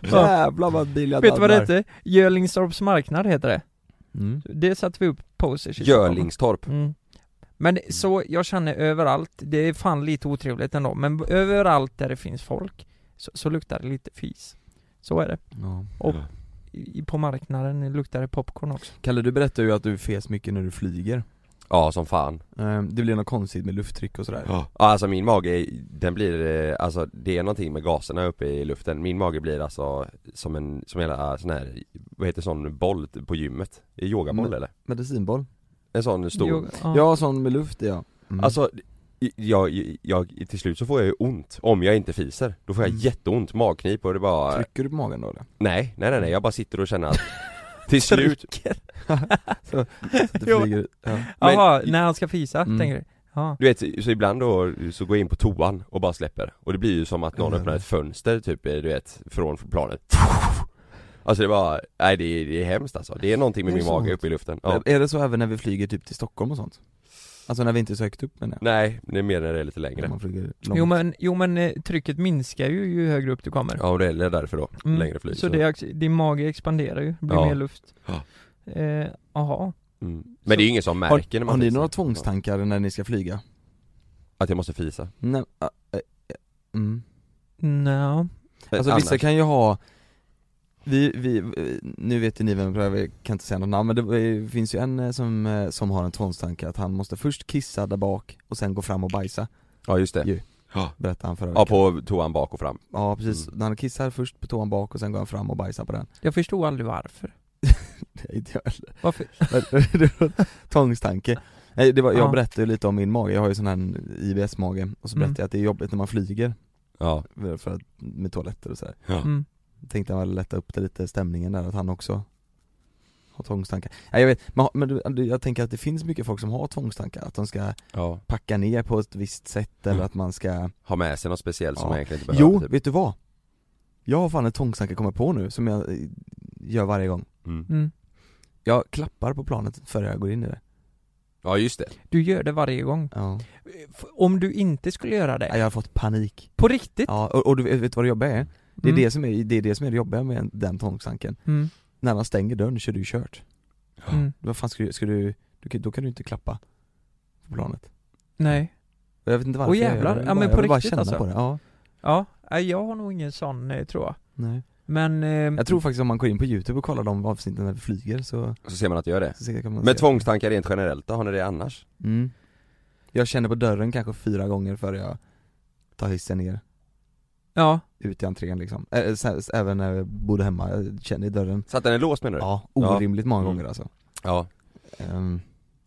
Speaker 4: Ja.
Speaker 3: Jävlar vad bil jag
Speaker 4: Vet du vad det
Speaker 3: darrar.
Speaker 4: hette? Jörlingstorps marknad heter det.
Speaker 3: Mm.
Speaker 4: Det satte vi upp posters i Stockholm.
Speaker 2: Görlingstorp
Speaker 4: Mm. Men så, jag känner överallt, det är fan lite otrevligt ändå, men överallt där det finns folk så, så luktar det lite fis. Så är det.
Speaker 3: Ja.
Speaker 4: Och i, på marknaden luktar det popcorn också.
Speaker 3: Kalle du berättade ju att du fes mycket när du flyger
Speaker 2: Ja som fan
Speaker 3: Ehm, Det blir något konstigt med lufttryck och sådär
Speaker 2: Ja alltså min mage, är- den blir, eh, alltså det är någonting med gaserna uppe i luften Min mage blir alltså som en, som hela sån här, vad heter sån boll på gymmet? Är det Yogaboll
Speaker 4: Mm.
Speaker 3: Men-
Speaker 2: eller?
Speaker 3: Medicinboll?
Speaker 2: En sån stor
Speaker 4: Jo, ja.
Speaker 3: Ja, sån med luft ja Mm.
Speaker 2: Alltså, i- jag, jag, till slut så får jag ju ont om jag inte fiser. Då får jag
Speaker 3: Mm.
Speaker 2: jätteont, magknip och det bara,
Speaker 3: Trycker du på magen då
Speaker 4: *laughs*
Speaker 3: eller?
Speaker 2: nej, nej nej nej, jag bara sitter och känner att till slut,
Speaker 3: Så att
Speaker 4: Jo.
Speaker 3: det flyger ja.
Speaker 2: men-
Speaker 4: *laughs* Jaha, när han ska fisa,
Speaker 3: Mm.
Speaker 4: tänker du? Ja.
Speaker 2: du vet, så ibland då så går jag in på toan och bara släpper. Och det blir ju som att någon
Speaker 3: Mm.
Speaker 2: öppnar ett fönster typ, du vet, från planet. Alltså det var, nej det är, det är hemskt alltså. Det är någonting
Speaker 3: Det
Speaker 2: med
Speaker 3: är
Speaker 2: min
Speaker 3: så
Speaker 2: mage
Speaker 3: ont.
Speaker 2: uppe i luften. Ja.
Speaker 3: Är det så även när vi flyger typ till Stockholm och sånt? Alltså när vi inte är så högt upp menar jag?
Speaker 2: Nej, det är mer när det är lite
Speaker 3: När
Speaker 2: längre.
Speaker 3: Man flyger långt.
Speaker 4: Jo men, jo men eh, trycket minskar ju ju högre upp du kommer.
Speaker 2: Ja och det är därför då,
Speaker 4: Mm.
Speaker 2: längre flyg.
Speaker 4: Så det, ex- din mage expanderar ju, blir
Speaker 2: Ja.
Speaker 4: mer luft.
Speaker 2: Ja.
Speaker 4: Eh, Jaha.
Speaker 2: mm. Men det är ju ingen som
Speaker 3: Har-
Speaker 2: märker när man
Speaker 3: Har ni
Speaker 2: fiser.
Speaker 3: några tvångstankar när ni ska flyga?
Speaker 2: Att jag måste Eh, fisa.
Speaker 3: Nej, äh, äh, mm.
Speaker 4: Nja.
Speaker 3: Alltså
Speaker 2: Annars-
Speaker 3: vissa kan ju ha vi, vi, eh, nu vet ju ni vem det är, jag kan inte säga något namn men det eh, finns ju en eh, som, eh, som har en tvångstanke att han måste först kissa där bak och sen gå fram och bajsa,
Speaker 2: Ja just det.
Speaker 3: Ju- berättade han förra
Speaker 2: Ja
Speaker 3: veckan
Speaker 2: på Mm. toan bak och fram.
Speaker 3: Ja precis, han kissar först på toan bak och sen går han fram och bajsar på den *laughs*
Speaker 4: Jag förstod aldrig varför.
Speaker 3: Det är inte jag
Speaker 2: *laughs*
Speaker 3: heller.
Speaker 4: Varför?
Speaker 3: Men det var en Tvångstanke Nej, det var, jag
Speaker 4: Ja.
Speaker 3: berättade ju lite om min mage, jag har ju sån här IBS-mage och så berättade
Speaker 4: Mm.
Speaker 3: jag att det är jobbigt när man flyger
Speaker 2: Ja.
Speaker 3: för att, med toaletter och sådär
Speaker 4: Mm.
Speaker 3: Tänkte jag väl lätta upp det lite stämningen där, att han också har tvångstankar. Nej jag vet, men, men du- du, jag tänker att det finns mycket folk som har tvångstankar, att de ska
Speaker 2: ja.
Speaker 3: packa ner på ett visst sätt eller
Speaker 2: Mm.
Speaker 3: att man ska
Speaker 2: Ha med sig något speciellt som
Speaker 3: Ja.
Speaker 2: man egentligen inte behöver
Speaker 3: Jo,
Speaker 2: typ.
Speaker 3: vet du vad? Jag har fan en tvångstanke kommer på nu som jag eh, gör varje gång
Speaker 2: Mm.
Speaker 4: Mm.
Speaker 3: Jag klappar på planet före jag går in i det
Speaker 2: Ja just det.
Speaker 4: Du gör det varje gång.
Speaker 3: Ja,
Speaker 4: F- Om du inte skulle göra det,
Speaker 3: Nej, jag har fått panik
Speaker 4: på riktigt?
Speaker 3: Ja, och, och du vet, vet du vad det jobbiga är? Det är,
Speaker 4: Mm.
Speaker 3: det, som är, det är det som är det jobbiga med den tvångstanken
Speaker 4: Mm.
Speaker 3: När man stänger dörren så är det ju kört
Speaker 4: Mm.
Speaker 3: Vad fan ska du, ska du, du kan- då kan du inte klappa på planet
Speaker 4: Nej.
Speaker 3: Och Jag vet inte varför
Speaker 4: Åh,
Speaker 3: jag gör
Speaker 4: jävlar.
Speaker 3: det. Jag
Speaker 4: Ja,
Speaker 3: vill
Speaker 4: men
Speaker 3: bara-
Speaker 4: på
Speaker 3: jag vill bara
Speaker 4: riktigt
Speaker 3: känna
Speaker 4: alltså.
Speaker 3: på det, ja
Speaker 4: Ja, nej, jag har nog ingen sån eh, tror jag.
Speaker 3: Nej.
Speaker 4: Men... Eh,
Speaker 3: Jag tror faktiskt om man går in på youtube och kollar de avsnitten när vi flyger så,
Speaker 2: Så ser man att jag gör det.
Speaker 3: så ser- kan man
Speaker 2: Men
Speaker 3: se.
Speaker 2: tvångstankar rent generellt då, har ni det annars?
Speaker 3: mm. Jag känner på dörren kanske fyra gånger före jag tar hissen ner,
Speaker 4: ja.
Speaker 3: ut i entrén liksom Ä- ä- sen- även när jag bodde hemma, jag känner i dörren
Speaker 2: Så att den är låst menar du?
Speaker 3: Ja, orimligt många
Speaker 2: Mm.
Speaker 3: gånger alltså
Speaker 2: ja.
Speaker 3: Ehm,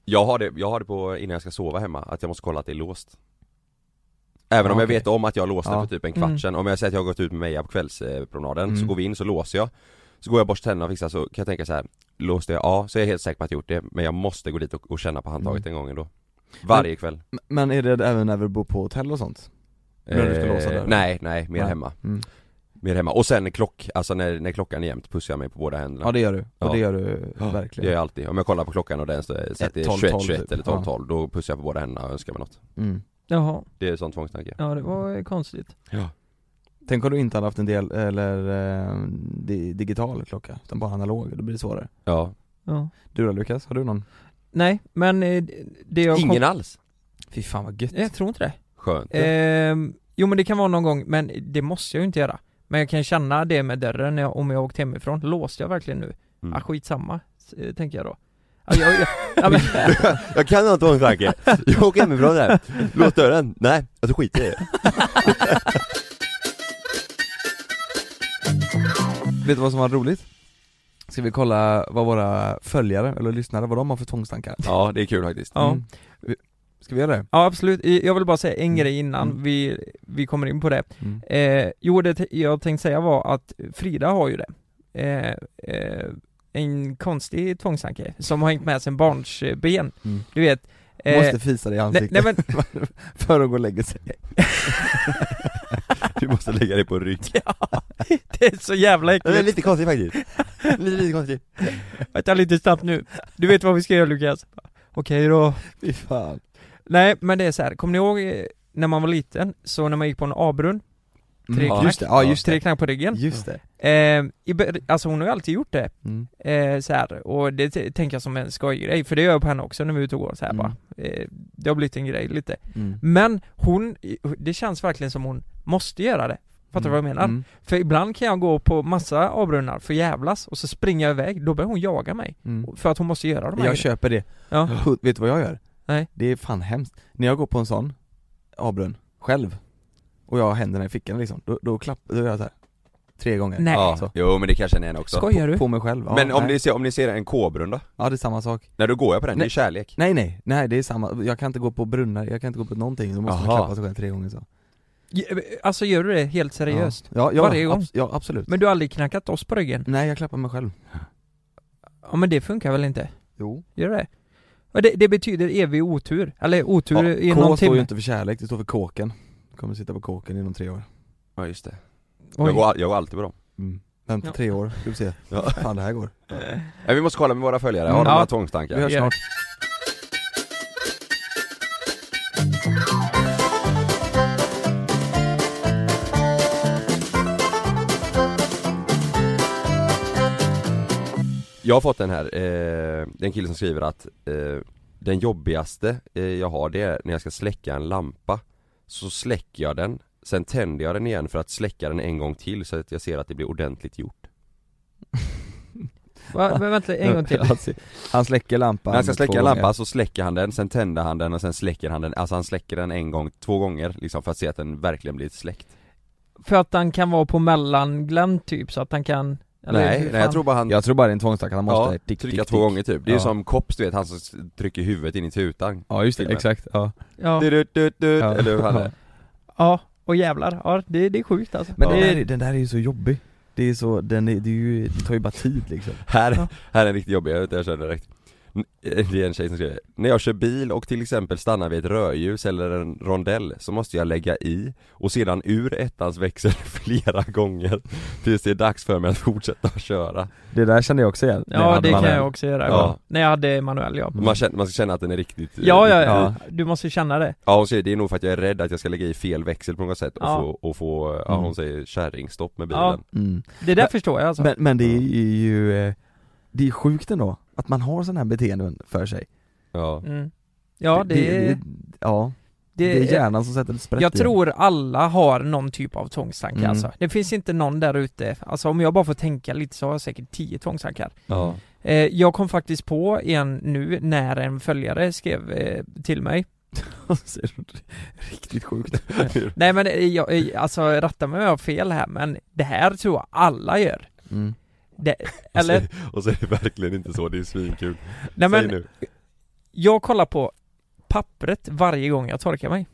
Speaker 2: Jag har det, jag har det på innan jag ska sova hemma, att jag måste kolla att det är låst. Även om
Speaker 3: Ja,
Speaker 2: jag
Speaker 3: okej.
Speaker 2: vet om att jag låste
Speaker 3: Ja.
Speaker 2: för typ en kvart
Speaker 4: Mm.
Speaker 2: sedan, om jag säger att jag har gått ut med Meja på kvällspromenaden, så
Speaker 3: Mm.
Speaker 2: går vi in så låser jag Så går jag och borstar tänderna och fixar så kan jag tänka så här. låste jag? Ja, så är jag helt säker på att jag gjort det, men jag måste gå dit och, och känna på handtaget en gång ändå Varje kväll
Speaker 3: m- Mm. Men är det även när vi bor på hotell och sånt? När du ska låsa dörren?
Speaker 2: Eh, Nej, nej, mer
Speaker 3: Nej.
Speaker 2: hemma
Speaker 3: Mm.
Speaker 2: Mer hemma, och sen klock, alltså när, när klockan är jämnt pussar jag mig på båda händerna
Speaker 3: Ja det gör du, och
Speaker 2: Ja.
Speaker 3: det gör du
Speaker 2: Ja,
Speaker 3: verkligen
Speaker 2: Det gör jag alltid, om jag kollar på klockan och den står- så att det är
Speaker 3: 12,
Speaker 2: 21,
Speaker 3: 12,
Speaker 2: 21
Speaker 3: typ.
Speaker 2: eller 12, 12 då pussar jag på båda händerna och önskar mig något
Speaker 3: mm.
Speaker 4: Jaha.
Speaker 2: Det är en sån tvångstanke
Speaker 4: Ja, det var eh, konstigt.
Speaker 3: Tänk om du inte hade haft en del, eller eh, di- digital klocka, utan bara analog, då blir det svårare
Speaker 2: Ja,
Speaker 4: Ja.
Speaker 3: Du då Lukas, har du någon?
Speaker 4: Nej, men eh, det jag kom-
Speaker 2: ingen alls!
Speaker 3: Fy fan vad gött.
Speaker 4: Jag tror inte det.
Speaker 2: Skönt.
Speaker 4: Ehm, jo men det kan vara någon gång, men det måste jag ju inte göra. Men jag kan känna det med dörren när jag, om jag åkt hemifrån, låste jag verkligen nu?
Speaker 2: Mm.
Speaker 4: Ah skitsamma, s- eh, tänker jag då. Ja, jag, *laughs* jag, ja, men,
Speaker 2: Jag kan ha en tvångstanke. Jag åker hemifrån här. Lås dörren. Nej, alltså skit i det.
Speaker 3: Vet du vad som var roligt? Ska vi kolla vad våra följare, eller lyssnare, vad de har för tvångstankar?
Speaker 2: Ja, det är kul faktiskt.
Speaker 4: Ja.
Speaker 3: Mm. Vi- Ska vi göra det?
Speaker 4: ja absolut, jag vill bara säga en
Speaker 3: Mm.
Speaker 4: grej innan
Speaker 3: Mm.
Speaker 4: vi, vi kommer in på det. Eh, jo, det t- jag tänkte säga var att Frida har ju det. Eh, eh, en konstig tvångstanke som har hängt med sen barnsben.
Speaker 3: Mm.
Speaker 4: Du vet eh,
Speaker 3: Måste fisa dig i
Speaker 4: nej,
Speaker 3: ansiktet
Speaker 4: nej men,
Speaker 3: *laughs*
Speaker 4: *laughs*
Speaker 3: för att gå och lägga sig.
Speaker 2: Du måste lägga dig på rygg.
Speaker 4: ja, det är så jävla
Speaker 2: Det är
Speaker 4: äckligt.
Speaker 2: lite
Speaker 3: *laughs*
Speaker 2: konstigt faktiskt. Lite, lite konstigt.
Speaker 4: Vänta lite snabbt nu. Du vet vad vi ska göra Lukas? Okej då.
Speaker 3: Fy fan.
Speaker 4: Nej men det är så här. kommer ni ihåg eh, när man var liten, så när man gick på en A-brunn, Tre
Speaker 3: Mm, ja,
Speaker 4: knack.
Speaker 3: just det, ja just
Speaker 4: tre
Speaker 3: det.
Speaker 4: knack på ryggen.
Speaker 3: Just det.
Speaker 4: Eh, i, bör- alltså hon har ju alltid gjort det.
Speaker 3: Mm.
Speaker 4: Eh, så här, och det t- tänker jag som en skojgrej, för det gör jag på henne också när vi är ute och går så här
Speaker 3: Mm.
Speaker 4: bara. Eh, det har blivit en grej lite.
Speaker 3: Mm.
Speaker 4: Men hon, det känns verkligen som hon måste göra det. Fattar du vad jag menar?
Speaker 3: Mm.
Speaker 4: För ibland kan jag gå på massa avbrunnar för jävlas och så springer jag iväg, då börjar hon jaga mig.
Speaker 3: Mm.
Speaker 4: För att hon måste göra de här
Speaker 3: Jag
Speaker 4: grejerna.
Speaker 3: köper det.
Speaker 4: Ja.
Speaker 3: Hu- Vet du vad jag gör?
Speaker 4: Nej.
Speaker 3: Det är fan hemskt. När jag går på en sån avbrunn, själv, och jag har händerna i fickan liksom, då, då, klapp, då gör jag så här. Tre gånger.
Speaker 4: Nej.
Speaker 2: Ja,
Speaker 3: Så.
Speaker 2: jo men det kanske ni är en också.
Speaker 4: Skojar du?
Speaker 3: På mig själv. Ja,
Speaker 2: Men om
Speaker 3: nej.
Speaker 2: ni, ser, om ni ser en K-brunn då?
Speaker 3: Ja det är samma sak.
Speaker 2: När du går jag på den, det är
Speaker 3: Nej.
Speaker 2: kärlek.
Speaker 3: Nej nej, nej det är samma, jag kan inte gå på brunnar, jag kan inte gå på någonting, då måste man
Speaker 2: Aha.
Speaker 3: klappa sig själv tre gånger så
Speaker 4: Ge- Alltså gör du det helt seriöst?
Speaker 3: Ja, ja,
Speaker 4: Varje
Speaker 3: ja,
Speaker 4: gång.
Speaker 3: abs- ja absolut
Speaker 4: Men du har aldrig knackat oss på ryggen?
Speaker 3: Nej jag klappar mig själv
Speaker 4: Ja men det funkar väl inte?
Speaker 3: Jo
Speaker 4: Gör det? Och det, det betyder evig otur, eller otur
Speaker 3: ja,
Speaker 4: i
Speaker 3: K
Speaker 4: någon
Speaker 3: står
Speaker 4: timme
Speaker 3: ju inte för kärlek, det står för kåken Kommer sitta på kåken inom tre år
Speaker 2: Ja just det.
Speaker 4: Oj.
Speaker 2: Jag går, all- jag går alltid på dem.
Speaker 3: mm. Vänta
Speaker 4: Ja.
Speaker 3: tre år, ska vi se
Speaker 2: Ja.
Speaker 3: fan det här går
Speaker 2: Nej, vi måste kolla med våra följare, har
Speaker 4: Mm.
Speaker 2: de några
Speaker 4: Ja.
Speaker 3: Vi
Speaker 2: tvångstankar?
Speaker 3: hörs
Speaker 4: Ja.
Speaker 3: snart
Speaker 2: Jag har fått den här, eh, det är en kille som skriver att eh, Den jobbigaste eh, jag har det är när jag ska släcka en lampa Så släcker jag den, sen tänder jag den igen för att släcka den en gång till så att jag ser att det blir ordentligt gjort
Speaker 4: Va, men vänta en
Speaker 3: *laughs*
Speaker 4: gång till
Speaker 3: Han se- Han släcker lampan
Speaker 2: När han ska släcka
Speaker 3: två
Speaker 2: en lampa
Speaker 3: gånger.
Speaker 2: så släcker han den, sen tänder han den och sen släcker han den Alltså han släcker den en gång, två gånger liksom för att se att den verkligen blir släckt
Speaker 4: För att han kan vara på mellanglänt typ, så att han kan eller
Speaker 2: Nej,
Speaker 4: hur
Speaker 2: nej jag
Speaker 4: fan?
Speaker 2: tror bara han
Speaker 3: Jag tror bara det är en tvångstanke, han måste
Speaker 2: ja,
Speaker 3: tick,
Speaker 2: trycka
Speaker 3: tick,
Speaker 2: två
Speaker 3: tick.
Speaker 2: gånger typ Det är ju
Speaker 3: Ja.
Speaker 2: som Kops du vet, han som s- trycker huvudet in i tutan
Speaker 3: Ja just det,
Speaker 2: Filmen.
Speaker 3: exakt, ja,
Speaker 4: Ja,
Speaker 2: Du, du, du, du,
Speaker 3: ja.
Speaker 2: *laughs* Eller hur han är
Speaker 4: ja och jävlar, ja det, det är sjukt alltså
Speaker 3: *laughs* Men
Speaker 4: det,
Speaker 3: den, där, är- den där är ju så jobbig Det är så, den är, det, är ju, det tar ju bara tid liksom
Speaker 2: Här,
Speaker 4: Ja.
Speaker 2: här är en riktigt jobbig, jag, vet, jag känner direkt N- Det är en tjej som skriver När jag kör bil och till exempel stannar vid ett rödljus eller en rondell så måste jag lägga i och sedan ur ettans växel *laughs* flera gånger tills det är dags för mig att fortsätta att köra
Speaker 3: Det där kände jag också igen när jag
Speaker 4: Ja
Speaker 3: hade
Speaker 4: det kan
Speaker 3: manuell.
Speaker 4: jag också göra
Speaker 2: Ja.
Speaker 4: När jag hade manuell ja
Speaker 2: Man, känner, man ska känna att den är riktigt
Speaker 4: Mm. Ja, ja, ja.
Speaker 3: Mm. Ja.
Speaker 4: Du måste känna det.
Speaker 2: ja hon säger det är nog för att jag är rädd att jag ska lägga i fel växel på något sätt och
Speaker 4: Ja.
Speaker 2: få, och få ja,
Speaker 3: Mm.
Speaker 2: hon säger kärringstopp med bilen
Speaker 4: Ja.
Speaker 3: mm.
Speaker 4: Det där
Speaker 3: Men-
Speaker 4: förstår jag alltså.
Speaker 3: Men, men det är ju, eh, det är sjukt ändå, att man har sådana här beteenden för sig
Speaker 2: ja.
Speaker 4: mm. Ja, det,
Speaker 3: det, Ja, det, är hjärnan som sätter sprätt
Speaker 4: Jag
Speaker 3: i
Speaker 4: tror alla har någon typ av tvångstanke
Speaker 3: Mm.
Speaker 4: alltså. Det finns inte någon där ute, alltså om jag bara får tänka lite så har jag säkert tio tvångstankar.
Speaker 2: Ja.
Speaker 4: Eh, jag kom faktiskt på en nu när en följare skrev eh, till mig
Speaker 3: en. Så är *laughs* det Riktigt sjukt
Speaker 4: Nej men eh, jag, eh, alltså rätta mig om jag har fel här men det här tror jag alla gör.
Speaker 3: mm. *laughs*
Speaker 4: Det,
Speaker 2: Och så-
Speaker 4: eller?
Speaker 2: *laughs* Och så är det verkligen inte så, det är svinkul
Speaker 4: Nej
Speaker 2: Säg
Speaker 4: men
Speaker 2: nu
Speaker 4: jag kollar på pappret varje gång jag torkar mig.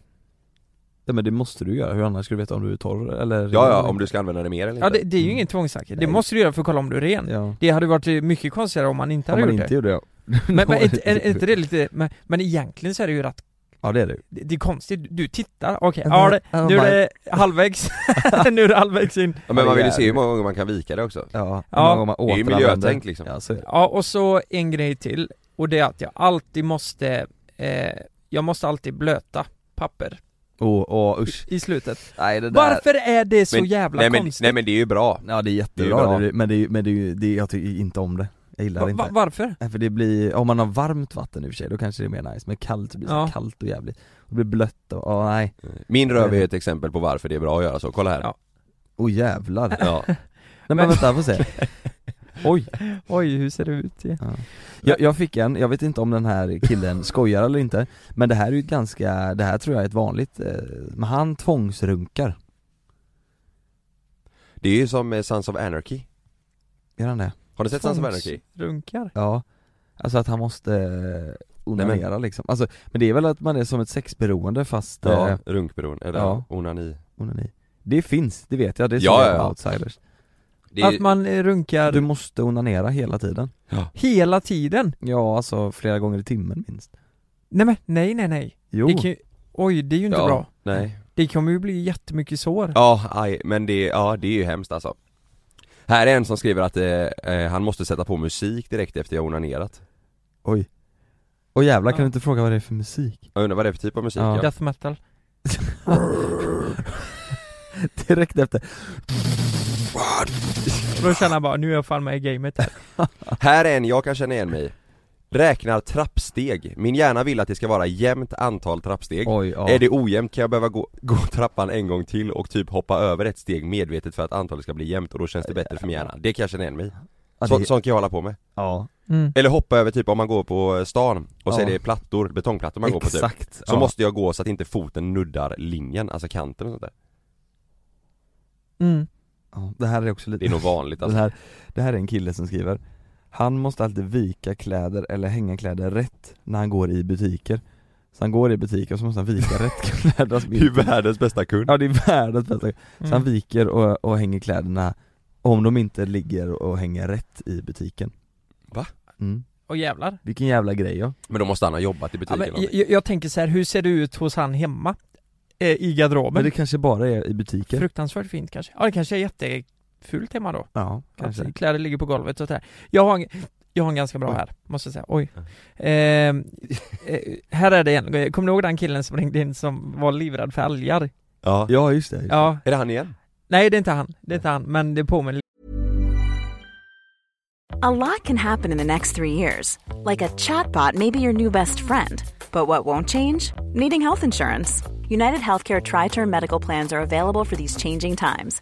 Speaker 3: Ja men det måste du göra, hur annars skulle du veta om du är torr eller
Speaker 2: Ja, ja, om du ska använda det mer eller inte
Speaker 4: Ja det, det är ju
Speaker 3: Mm.
Speaker 4: ingen tvångstanke, det
Speaker 3: Nej.
Speaker 4: måste du göra för att kolla om du är ren.
Speaker 3: Ja,
Speaker 4: Det hade varit eh, mycket konstigare om man inte
Speaker 3: om
Speaker 4: hade
Speaker 3: man
Speaker 4: gjort
Speaker 3: inte
Speaker 4: det.
Speaker 3: gjorde det *laughs*
Speaker 4: Men, men
Speaker 3: Då är
Speaker 4: är, är, är inte det lite, men, men egentligen så är det ju rätt,
Speaker 3: Ja det är det
Speaker 4: *laughs*
Speaker 3: ju.
Speaker 4: det, det är konstigt, du tittar, okej,
Speaker 3: Men
Speaker 4: ja,
Speaker 3: det-
Speaker 4: det- nu är det halvvägs, *laughs* nu är det halvvägs in.
Speaker 2: Ja, men man vill ju se hur många gånger man kan vika det också
Speaker 3: Ja,
Speaker 4: Ja.
Speaker 3: ja. Man
Speaker 2: Det är ju miljötänk liksom.
Speaker 3: Ja så är det
Speaker 4: Ja, och så en grej till och det är att jag alltid måste, eh, jag måste alltid blöta papper
Speaker 3: Åh, åh usch
Speaker 4: i slutet.
Speaker 3: Nej det där
Speaker 4: Varför är det så
Speaker 2: Men-
Speaker 4: jävla
Speaker 2: nej, men,
Speaker 4: konstigt?
Speaker 2: nej men det är ju bra
Speaker 3: Ja det är
Speaker 2: Det är ju
Speaker 3: jättebra,
Speaker 2: bra.
Speaker 3: det är men det är ju, men det är ju, det, jag tycker inte om det jag gillar
Speaker 4: Va-
Speaker 3: det inte
Speaker 4: va- varför?
Speaker 3: Nej, för det blir, om man har varmt vatten i och för sig, då kanske det är mer nice, men kallt så blir det
Speaker 4: Ja.
Speaker 3: så kallt och jävligt Det blir blött och, åh nej,
Speaker 2: Min röv är ett exempel på varför det är bra att göra så, kolla här
Speaker 4: Mm. Ja.
Speaker 3: oh
Speaker 4: *laughs*
Speaker 3: jävlar Nej
Speaker 2: Ja.
Speaker 3: men,
Speaker 4: Men-
Speaker 3: vänta,
Speaker 4: *laughs*
Speaker 3: får se Oj!
Speaker 4: Oj, hur ser det ut? Ja.
Speaker 3: Jag, jag fick en, jag vet inte om den här
Speaker 4: *laughs*
Speaker 3: killen skojar eller inte Men det här är ju ett ganska, det här tror jag är ett vanligt, eh, men han tvångsrunkar,
Speaker 2: Det är ju som eh, Sons of Anarchy
Speaker 3: gör han det?
Speaker 2: Har ni sett Sons of Anarchy?
Speaker 4: Runkar?
Speaker 3: Ja, alltså att han måste eh, onanera liksom, alltså, men det är väl att man är som ett sexberoende fast eh,
Speaker 2: Ja, runkberoende, eller
Speaker 3: Ja.
Speaker 2: onani
Speaker 3: onani Det finns, det vet jag, det är
Speaker 2: Ja,
Speaker 3: ja,
Speaker 2: ja,
Speaker 3: ja.
Speaker 2: ja.
Speaker 3: outsiders
Speaker 2: det
Speaker 4: Att man eh, runkar
Speaker 3: Du måste onanera hela tiden
Speaker 4: hela tiden?
Speaker 3: Ja, alltså flera gånger i timmen minst
Speaker 4: Nej men, nej nej nej.
Speaker 3: Jo,
Speaker 4: Det kan, ju- oj, det är ju inte
Speaker 2: ja,
Speaker 4: bra.
Speaker 2: Nej
Speaker 4: Det kommer ju bli jättemycket sår.
Speaker 2: Ja, aj, men det, ja, det är ju hemskt alltså Här är en som skriver att eh, eh, han måste sätta på musik direkt efter jag onanerat
Speaker 3: oj Åh jävlar, kan
Speaker 4: Ja.
Speaker 3: du inte fråga vad det är för musik? *laughs*
Speaker 2: Jag undrar vad det är för typ av musik
Speaker 3: Ja.
Speaker 2: ja.
Speaker 4: Death metal.
Speaker 3: Direkt efter,
Speaker 4: Och då känner jag bara, nu är jag fan med i gamet här.
Speaker 2: Här är en jag kan känna igen mig i. Räknar trappsteg, min hjärna vill att det ska vara jämnt antal trappsteg
Speaker 3: oj ja
Speaker 2: Är det ojämnt kan jag behöva gå, gå trappan en gång till och typ hoppa över ett steg medvetet för att antalet ska bli jämnt och då känns det bättre för min hjärna Det kan jag känna igen mig i.
Speaker 3: ja,
Speaker 2: så,
Speaker 3: det,
Speaker 2: Sånt kan jag hålla på med
Speaker 3: ja,
Speaker 4: *laughs* Mm.
Speaker 2: Eller hoppa över typ om man går på stan och så
Speaker 3: Ja.
Speaker 2: är det plattor, betongplattor man går på typ
Speaker 3: exakt
Speaker 2: Så
Speaker 3: ja.
Speaker 2: måste jag gå så att inte foten nuddar linjen, alltså kanten och sånt där
Speaker 4: Mm.
Speaker 3: ja, Det här är också lite
Speaker 2: Det är nog vanligt alltså
Speaker 3: det, här, det här är en kille som skriver Han måste alltid vika kläder eller hänga kläder rätt när han går i butiker Så han går i butiker och så måste han vika rätt kläder som
Speaker 2: *laughs* Det är ju världens bästa kund
Speaker 3: Ja det är världens bästa Så han
Speaker 4: Mm.
Speaker 3: viker och, och hänger kläderna om de inte ligger och hänger rätt i butiken
Speaker 2: Va?
Speaker 3: Mm.
Speaker 4: Och jävlar.
Speaker 3: Vilken jävla grej ja.
Speaker 2: Men då måste han ha jobbat i
Speaker 4: Ja,
Speaker 2: butiken
Speaker 4: men,
Speaker 2: eller någonting.
Speaker 4: jag, jag tänker så här, hur ser det ut hos han hemma? Eh, I garderoben?
Speaker 3: Men det kanske bara är i butiken
Speaker 4: Fruktansvärt fint kanske. Ja det kanske är jättefult hemma då.
Speaker 3: Ja, kanske
Speaker 4: Att kläder ligger på golvet och sådär. Jag har en, jag har en ganska bra
Speaker 3: Oj.
Speaker 4: här, måste jag säga. Oj. Ehm, Eh, här är det en. Kommer du ihåg den killen som ringde in som var livrädd för algar?
Speaker 2: Ja.
Speaker 3: Ja just det, just det.
Speaker 4: Ja.
Speaker 2: Är det han igen?
Speaker 4: Nej det är inte han, det är inte han, men det påminner
Speaker 7: A lot can happen in the next three years. Like a chatbot may be your new best friend. But what won't change? Needing health insurance. United Healthcare Tri Term Medical Plans are available for these changing times.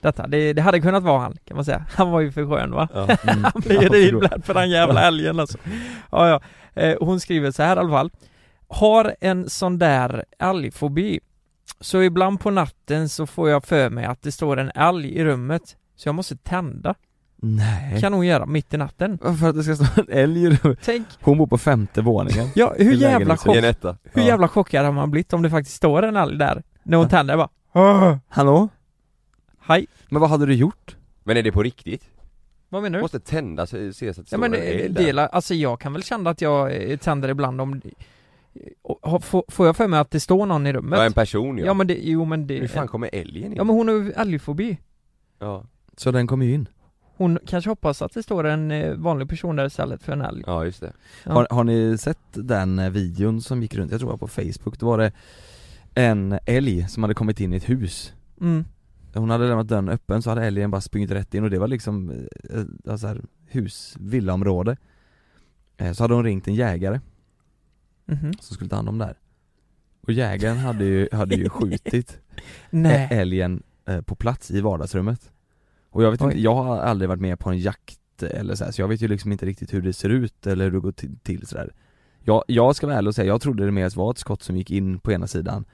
Speaker 4: detta. Det, det hade kunnat vara han, kan man säga. *laughs* Han var ju för skön va?
Speaker 2: Ja.
Speaker 4: *laughs* Han blir drivblad för den jävla älgen alltså. Ja, ja. Eh, hon skriver så här i alla fall. Har en sån där älgfobi. Så ibland på natten så får jag för mig att det står en älg i rummet. Så jag måste tända.
Speaker 3: Nej
Speaker 4: Kan hon göra mitt i natten.
Speaker 3: För att det ska stå en älg i rummet.
Speaker 4: Tänk,
Speaker 3: Hon bor på femte våningen
Speaker 4: ja hur
Speaker 3: I
Speaker 4: jävla,
Speaker 3: lägenheten.
Speaker 2: I en
Speaker 4: chock,
Speaker 2: etta
Speaker 4: hur
Speaker 3: Ja.
Speaker 4: jävla chockad har man blivit om det faktiskt står en älg där. När hon
Speaker 3: Ja.
Speaker 4: tänder bara.
Speaker 3: Hallå?
Speaker 4: Hej.
Speaker 3: Men vad hade du gjort?
Speaker 2: Men är det på riktigt?
Speaker 4: Vad menar du?
Speaker 2: Måste tända så ses att det står
Speaker 4: Ja men
Speaker 2: en eld där.
Speaker 4: dela, alltså jag kan väl känna att jag eh, tänder ibland om och ha- få- Får jag för mig att det står någon i rummet?
Speaker 2: Ja en person ja,
Speaker 4: Ja men det, jo men det
Speaker 2: Hur fan kommer älgen in?
Speaker 4: Ja men hon har ju älgfobi
Speaker 2: ja.
Speaker 3: Så den kom ju in
Speaker 4: Hon kanske hoppas att det står en eh, vanlig person där istället för en älg
Speaker 2: ja just det
Speaker 4: Ja.
Speaker 3: Har, har ni sett den eh, videon som gick runt, jag tror det var på Facebook, då var det en älg som hade kommit in i ett hus
Speaker 4: mm.
Speaker 3: Hon hade lämnat dörren öppen så hade älgen bara sprungit rätt in och det var liksom, eh, eh, så här, hus, villaområde Eh, Så hade hon ringt en jägare
Speaker 4: Mhm.
Speaker 3: som skulle ta hand om det här Och jägaren hade ju, hade ju skjutit
Speaker 4: Nej,
Speaker 3: ä- älgen eh, på plats i vardagsrummet Och jag vet inte,
Speaker 4: Oj.
Speaker 3: jag har aldrig varit med på en jakt eller så, här, så jag vet ju liksom inte riktigt hur det ser ut eller hur det går till, till sådär jag, jag ska vara ärlig och säga, jag trodde det mer var ett skott som gick in på ena sidan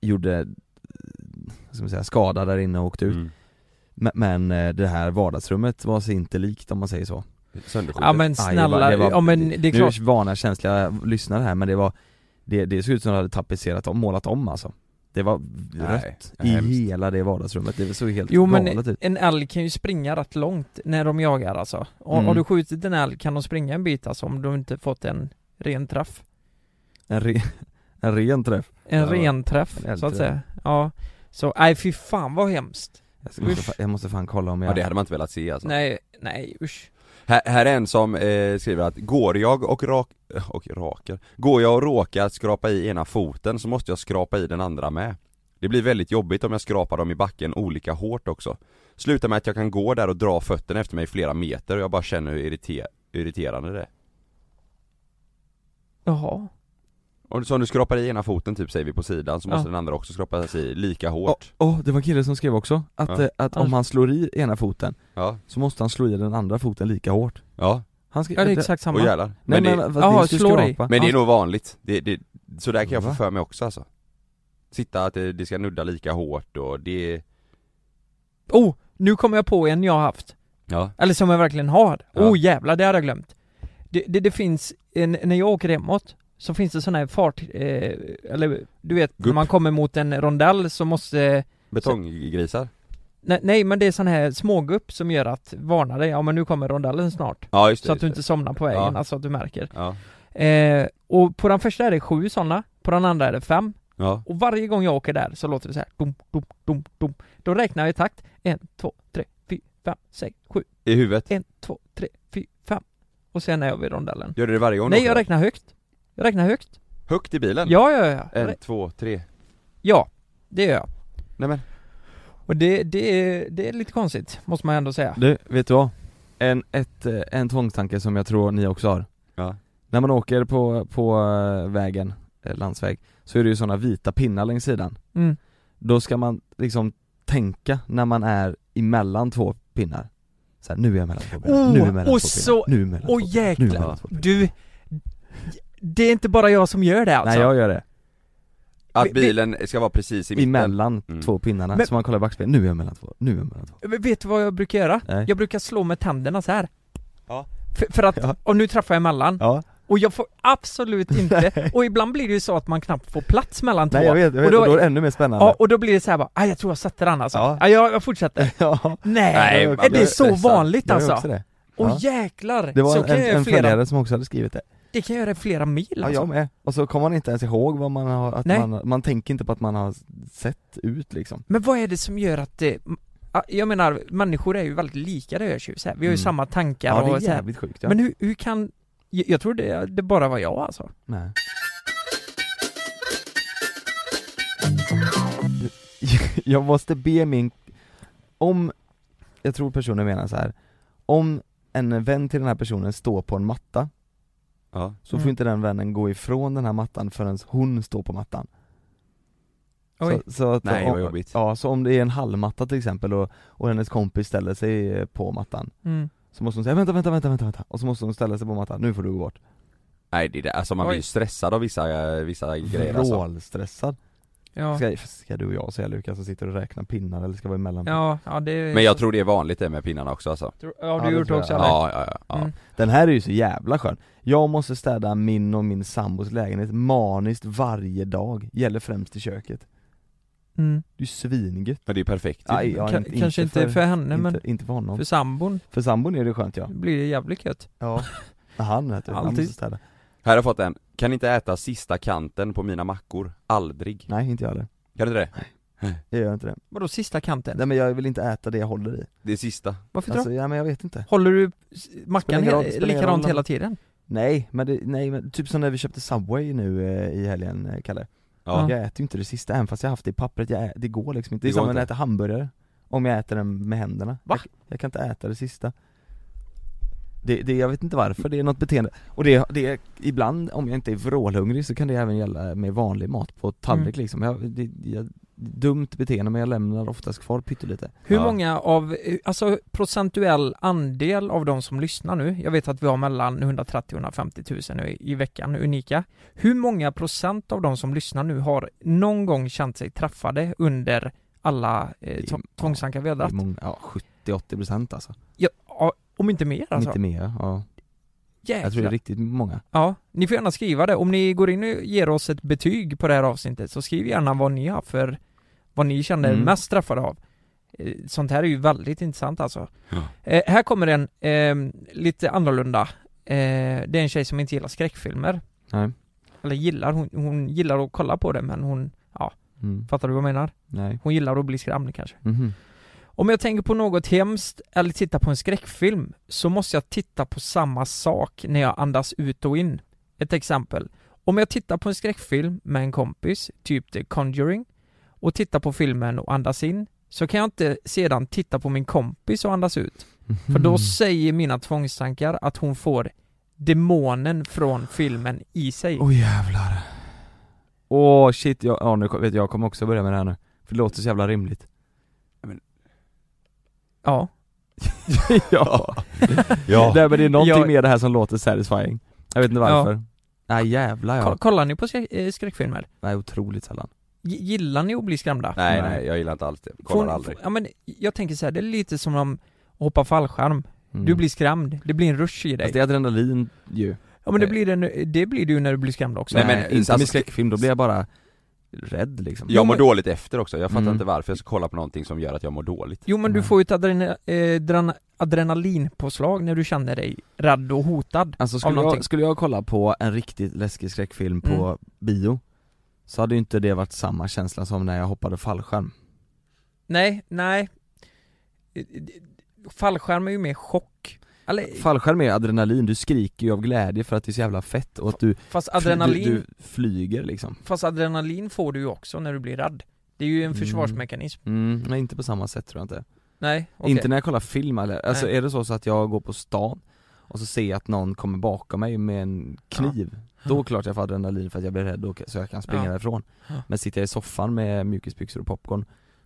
Speaker 3: Gjorde, eh, vad ska man säga, skada där inne och åkte ut
Speaker 2: mm.
Speaker 3: men, men eh, det här vardagsrummet var sig inte likt om man säger så
Speaker 2: Sönderskjutet
Speaker 4: ja men
Speaker 3: Aj, det var-
Speaker 4: snälla,
Speaker 3: det var-
Speaker 4: ja men det är klart
Speaker 3: Nu varnar känsliga lyssnare här men det var Det, det såg ut som att de hade tapetserat om, målat om alltså Det var rött i
Speaker 2: hemskt.
Speaker 3: hela det vardagsrummet, det typ. såg helt
Speaker 4: Jo men
Speaker 3: galet ut
Speaker 4: en älg kan ju springa rätt långt när de jagar alltså Har
Speaker 3: Mm.
Speaker 4: har du skjutit en älg kan de springa en bit alltså om du inte fått en ren träff
Speaker 3: En, re, *laughs* En ren träff
Speaker 4: En
Speaker 3: Ja,
Speaker 4: ren träff,
Speaker 3: en
Speaker 4: så att
Speaker 3: älgträff.
Speaker 4: säga Ja Så, nej fy fan vad hemskt
Speaker 3: jag ska- måste,
Speaker 4: Usch.
Speaker 3: fa- jag måste fan kolla om jag...
Speaker 2: Ja det hade man inte velat se alltså.
Speaker 4: Nej, nej usch
Speaker 2: Här, här är en som eh, skriver att går jag och rak... eh, och raker? Går jag och råkar skrapa i ena foten så måste jag skrapa i den andra med. Det blir väldigt jobbigt om jag skrapar dem i backen olika hårt också. Slutar med att jag kan gå där och dra fötterna efter mig flera meter och jag bara känner hur irrite- irriterande det är.
Speaker 4: Jaha
Speaker 2: Om, så om du skrapar i ena foten typ säger vi på sidan så måste
Speaker 4: Ja.
Speaker 2: den andra också skrapas i lika
Speaker 3: Åh,
Speaker 2: hårt.
Speaker 3: åh, det var en kille som skrev också att,
Speaker 2: Ja.
Speaker 3: eh, att om
Speaker 4: Annars-
Speaker 3: han slår i ena foten
Speaker 2: Ja,
Speaker 3: så måste han slå i den andra foten lika hårt
Speaker 2: ja,
Speaker 3: Han skrev...
Speaker 4: Ja det är
Speaker 3: det-
Speaker 4: exakt samma
Speaker 2: och jävlar.
Speaker 3: Nej
Speaker 2: men,
Speaker 3: men,
Speaker 2: det,
Speaker 3: vad-
Speaker 4: Jaha,
Speaker 3: det ska
Speaker 4: slår i.
Speaker 3: skrapa.
Speaker 2: men det är nog vanligt. Det, det, så där kan jag få
Speaker 3: Va?
Speaker 2: för mig också alltså. Sitta att det, det ska nudda lika hårt och det,
Speaker 4: Oh! Nu kommer jag på en jag har haft
Speaker 2: ja.
Speaker 4: Eller som jag verkligen har
Speaker 2: Ja.
Speaker 4: Oh jävlar, det hade jag glömt Det, det, det finns, en, när jag åker hemåt Så finns det sån här fart, eh, eller du vet när
Speaker 2: Gupp.
Speaker 4: man kommer mot en rondell så måste
Speaker 2: Betonggrisar?
Speaker 4: nej, nej men det är sån här smågupp som gör att varna dig, ja men nu kommer rondellen snart
Speaker 2: Ja just det,
Speaker 4: Så att du
Speaker 2: just
Speaker 4: inte somnar på vägen,
Speaker 2: Ja.
Speaker 4: alltså att du märker
Speaker 2: det. Ja,
Speaker 4: Eh, och på den första är det sju sådana, på den andra är det fem.
Speaker 2: ja,
Speaker 4: Och varje gång jag åker där så låter det så här, dum, dum, dum, dum. Då räknar jag i takt, en, två, tre, fyra, fem, sex, sju,
Speaker 2: i huvudet?
Speaker 4: en, två, tre, fyra, fem. Och sen är jag vid rondellen.
Speaker 2: Gör du det varje gång du
Speaker 4: Nej
Speaker 2: åker?
Speaker 4: jag räknar högt. Jag räknar högt.
Speaker 2: Högt i bilen?
Speaker 4: Ja, ja, ja.
Speaker 2: En,
Speaker 4: Re-
Speaker 2: två, tre
Speaker 4: Ja, det gör jag.
Speaker 2: Nej men,
Speaker 4: Och det, det, är, det är lite konstigt, måste man ändå säga.
Speaker 3: Du, vet du vad? En, ett, eh, en tvångstanke som jag tror ni också har
Speaker 2: Ja.
Speaker 3: När man åker på, på eh, vägen, eh, landsväg, så är det ju sådana vita pinnar längs sidan
Speaker 4: Mm.
Speaker 3: Då ska man liksom tänka när man är emellan två pinnar så här, nu är jag mellan två pinnar,
Speaker 4: Oh,
Speaker 3: nu är jag mellan
Speaker 4: och
Speaker 3: två
Speaker 4: så-
Speaker 3: pinnar, nu är jag mellan två
Speaker 4: Och
Speaker 3: pinnar, nu är jag
Speaker 4: jäklar,
Speaker 3: mellan två pinnar
Speaker 4: du. Det är inte bara jag som gör det alltså.
Speaker 3: Nej jag gör det,
Speaker 2: att
Speaker 4: Vi- vi-
Speaker 2: bilen ska vara precis i mitten
Speaker 3: emellan
Speaker 2: Mm.
Speaker 3: två pinnarna,
Speaker 4: Men-
Speaker 3: så man kollar i backspegeln, nu är jag mellan två, nu är jag mellan två
Speaker 4: Vet du vad jag brukar göra?
Speaker 3: Nej.
Speaker 4: Jag brukar slå med tänderna så här.
Speaker 2: Ja.
Speaker 4: För, för att,
Speaker 3: *laughs* Ja.
Speaker 4: och nu träffar jag emellan.
Speaker 3: Ja,
Speaker 4: Och jag får
Speaker 3: *laughs*
Speaker 4: absolut inte, och ibland blir det ju så att man knappt får plats mellan två.
Speaker 3: nej jag vet, jag
Speaker 4: och
Speaker 3: vet,
Speaker 4: då,
Speaker 3: och då är det ännu mer spännande
Speaker 4: ja, och då blir det så här bara, "Aj, jag tror jag sätter den alltså. Ja.
Speaker 3: Ja.
Speaker 4: jag, jag fortsätter.
Speaker 3: *laughs* ja,
Speaker 4: Nej,
Speaker 2: Nej, man
Speaker 4: är
Speaker 2: blir
Speaker 4: det så
Speaker 2: stressad.
Speaker 4: vanligt
Speaker 3: jag gör
Speaker 4: alltså?
Speaker 3: också det
Speaker 4: Åh
Speaker 3: Ja.
Speaker 4: jäklar!
Speaker 3: Det var
Speaker 4: så
Speaker 3: en,
Speaker 4: kan jag
Speaker 3: en,
Speaker 4: göra
Speaker 3: en
Speaker 4: flera,
Speaker 3: följare som också hade skrivit det
Speaker 4: det kan jag göra i flera mil
Speaker 3: Ja
Speaker 4: alltså.
Speaker 3: jag med, och så kommer man inte ens ihåg vad man har, att
Speaker 4: Nej.
Speaker 3: man, man tänker inte på att man har sett ut liksom
Speaker 4: Men vad är det som gör att det, ja, jag menar, människor är ju väldigt lika det jag så här. vi har
Speaker 3: Mm.
Speaker 4: ju samma tankar
Speaker 3: Ja det
Speaker 4: och
Speaker 3: är
Speaker 4: så här.
Speaker 3: jävligt sjukt ja.
Speaker 4: Men hur, hur kan, jag, jag tror det, det bara var jag alltså.
Speaker 3: Nej. *laughs* Jag måste be min, om, jag tror personen menar så här. om en vän till den här personen står på en matta
Speaker 2: Ja,
Speaker 3: så
Speaker 4: Mm.
Speaker 3: får inte den vännen gå ifrån den här mattan förrän hon står på mattan
Speaker 4: Oj.
Speaker 3: Så, så att,
Speaker 2: Nej,
Speaker 3: om,
Speaker 2: vad jobbigt.
Speaker 3: Ja, så om det är en halmmatta till exempel och, och hennes kompis ställer sig eh, på mattan
Speaker 4: Mm.
Speaker 3: Så måste hon säga 'vänta, vänta, vänta, vänta, vänta' och så måste hon ställa sig på mattan, nu får du gå bort
Speaker 2: nej det är det, alltså man blir
Speaker 4: Oj.
Speaker 2: ju stressad av vissa, vissa grejer alltså.
Speaker 3: Vrålstressad
Speaker 4: Ja.
Speaker 3: ska, ska du och jag säga Lukas som sitter och räknar pinnar eller ska vara emellan
Speaker 4: Ja, ja det
Speaker 2: Men jag tror det är vanligt det med pinnarna också alltså.
Speaker 4: Tror- Ja
Speaker 3: Ja,
Speaker 4: du
Speaker 3: det
Speaker 4: gjort
Speaker 3: tror
Speaker 4: också
Speaker 3: jag.
Speaker 4: eller?
Speaker 2: Ja, ja, ja, ja.
Speaker 4: Mm.
Speaker 3: Den här är ju så jävla skön Jag måste städa min och min sambos lägenhet maniskt varje dag, gäller främst i köket
Speaker 4: Mm.
Speaker 3: Du är svingött
Speaker 2: Men det är perfekt ju.
Speaker 3: Aj, ja,
Speaker 4: Ka- kanske inte för, henne men
Speaker 3: inte, inte för honom,
Speaker 4: för
Speaker 3: för,
Speaker 4: sambon
Speaker 3: sambon är det skönt ja
Speaker 4: blir det jävligt gött.
Speaker 3: *laughs* Ja Han vet du, han
Speaker 4: Alltid.
Speaker 3: måste städa
Speaker 2: Här har jag fått en, kan inte äta sista kanten på mina mackor, aldrig
Speaker 3: Nej inte jag heller,
Speaker 2: Kan du inte det?
Speaker 3: jag gör inte det
Speaker 4: Vadå sista kanten?
Speaker 3: Nej men jag vill inte äta det jag håller i
Speaker 2: Det sista
Speaker 4: Varför
Speaker 3: Alltså,
Speaker 4: då?
Speaker 3: ja men jag vet inte
Speaker 4: Håller du s-
Speaker 3: Spelar
Speaker 4: mackan
Speaker 3: ingen roll,
Speaker 4: he-
Speaker 3: spelar ingen
Speaker 4: likadant
Speaker 3: roll.
Speaker 4: hela tiden?
Speaker 3: Nej, men det, nej men typ som när vi köpte Subway nu eh, i helgen, eh, Kalle
Speaker 2: Ja,
Speaker 3: Jag äter ju inte det sista, även fast jag haft det i pappret, jag ä, det går liksom inte Det är
Speaker 2: Det går
Speaker 3: samma när jag
Speaker 2: inte.
Speaker 3: äter hamburgare Om jag äter den med händerna
Speaker 4: Va?
Speaker 3: Jag, jag kan inte äta det sista det, det, jag vet inte varför, det är något beteende Och det, det, ibland om jag inte är vrålhungrig så kan det även gälla med vanlig mat på tallrik
Speaker 4: Mm.
Speaker 3: liksom jag, det, jag, Dumt beteende men jag lämnar oftast kvar pyttelite
Speaker 4: Hur
Speaker 2: Ja.
Speaker 4: många av, eh, alltså procentuell andel av de som lyssnar nu, jag vet att vi har mellan 130 och 150 000 nu i, i veckan, unika. Hur många procent av de som lyssnar nu har någon gång känt sig träffade under alla eh,
Speaker 3: Det är-
Speaker 4: tå- tvångstankar vi har
Speaker 3: Det är
Speaker 4: dragit?
Speaker 3: många, Ja, 70-80% alltså,
Speaker 4: Ja, ja, om inte mer alltså.
Speaker 3: inte mer, ja
Speaker 4: Jäklar.
Speaker 3: Jag tror det är riktigt många
Speaker 4: Ja, ni får gärna skriva det. Om ni går in och ger oss ett betyg på det här avsnittet så skriv gärna vad ni har för vad ni känner er
Speaker 3: Mm.
Speaker 4: mest träffade av. Eh, Sånt här är ju väldigt intressant alltså.
Speaker 2: Ja.
Speaker 4: Eh, här kommer en ehm, eh, lite annorlunda. Eh, det är en tjej som inte gillar skräckfilmer.
Speaker 3: Nej.
Speaker 4: eller gillar, hon, hon gillar att kolla på det men hon,
Speaker 3: Mm.
Speaker 4: fattar du vad jag menar?
Speaker 3: Nej.
Speaker 4: Hon gillar att bli skrämd kanske.
Speaker 3: Mhm.
Speaker 4: Om jag tänker på något hemskt eller tittar på en skräckfilm så måste jag titta på samma sak när jag andas ut och in. Ett exempel. Om jag tittar på en skräckfilm med en kompis, typ The Conjuring, och tittar på filmen och andas in, så kan jag inte sedan titta på min kompis och andas ut. För då
Speaker 3: Mhm.
Speaker 4: säger mina tvångstankar att hon får demonen från filmen i sig.
Speaker 3: Åh jävlar Åh shit, jag, ja, nu kom- vet jag, jag kommer också börja med det här nu För det låter så jävla rimligt *laughs*
Speaker 4: Ja.
Speaker 3: Ja,
Speaker 2: Ja,
Speaker 3: Nej, men det är någonting
Speaker 4: Jag-
Speaker 3: med det här som låter satisfying Jag vet inte varför Nej jävlar
Speaker 4: Ko-
Speaker 3: ja,
Speaker 4: Kollar ni på skräck- eh, skräckfilmer?
Speaker 3: nej otroligt sällan
Speaker 4: G- Gillar ni att bli skrämda?
Speaker 2: nej nej jag gillar inte alls det, kollar
Speaker 4: Får-
Speaker 2: aldrig
Speaker 4: Ja men jag tänker så här, det är lite som om att hoppa fallskärm,
Speaker 3: Mm. Alltså
Speaker 4: du blir skrämd, det blir en rush i dig
Speaker 3: Fast det är adrenalin ju
Speaker 4: Ja men det blir, det, det blir det ju när du blir skrämd också
Speaker 2: Nej,
Speaker 3: Nej
Speaker 2: men
Speaker 3: men inte
Speaker 2: alltså-
Speaker 3: med skräckfilm, då blir jag bara rädd liksom
Speaker 2: Jag mår dåligt efter också, jag fattar
Speaker 3: Mm.
Speaker 2: inte varför jag ska kolla på någonting som gör att jag mår dåligt
Speaker 4: Jo men du
Speaker 3: Nej.
Speaker 4: får ju ett adrena, eh, dran, adrenalinpåslag när du känner dig rädd och hotad
Speaker 3: Alltså
Speaker 4: av
Speaker 3: skulle
Speaker 4: någonting.
Speaker 3: jag, skulle jag kolla på en riktigt läskig skräckfilm på
Speaker 4: Mm.
Speaker 3: bio Så hade ju inte det varit samma känsla som när jag hoppade fallskärm
Speaker 4: Nej, nej Eh, Fallskärm är ju mer chock Eller,
Speaker 3: Fallskärm är adrenalin, du skriker ju av glädje för att det är så jävla fett och att du,
Speaker 4: fast, adrenalin,
Speaker 3: du, du flyger liksom
Speaker 4: fast adrenalin får du ju också när du blir rädd Det är ju en
Speaker 3: Mm.
Speaker 4: försvarsmekanism
Speaker 3: Mm, nej inte på samma sätt tror jag inte.
Speaker 4: Nej, okej
Speaker 3: Inte när jag kollar film eller, alltså
Speaker 4: Nej.
Speaker 3: är det så, så att jag går på stan och så ser jag att någon kommer bakom mig med en kniv, då är det klart jag får adrenalin för att jag blir rädd och så jag kan springa
Speaker 4: Ja.
Speaker 3: därifrån
Speaker 4: Ja.
Speaker 3: Men sitter jag i soffan med mjukisbyxor och popcorn,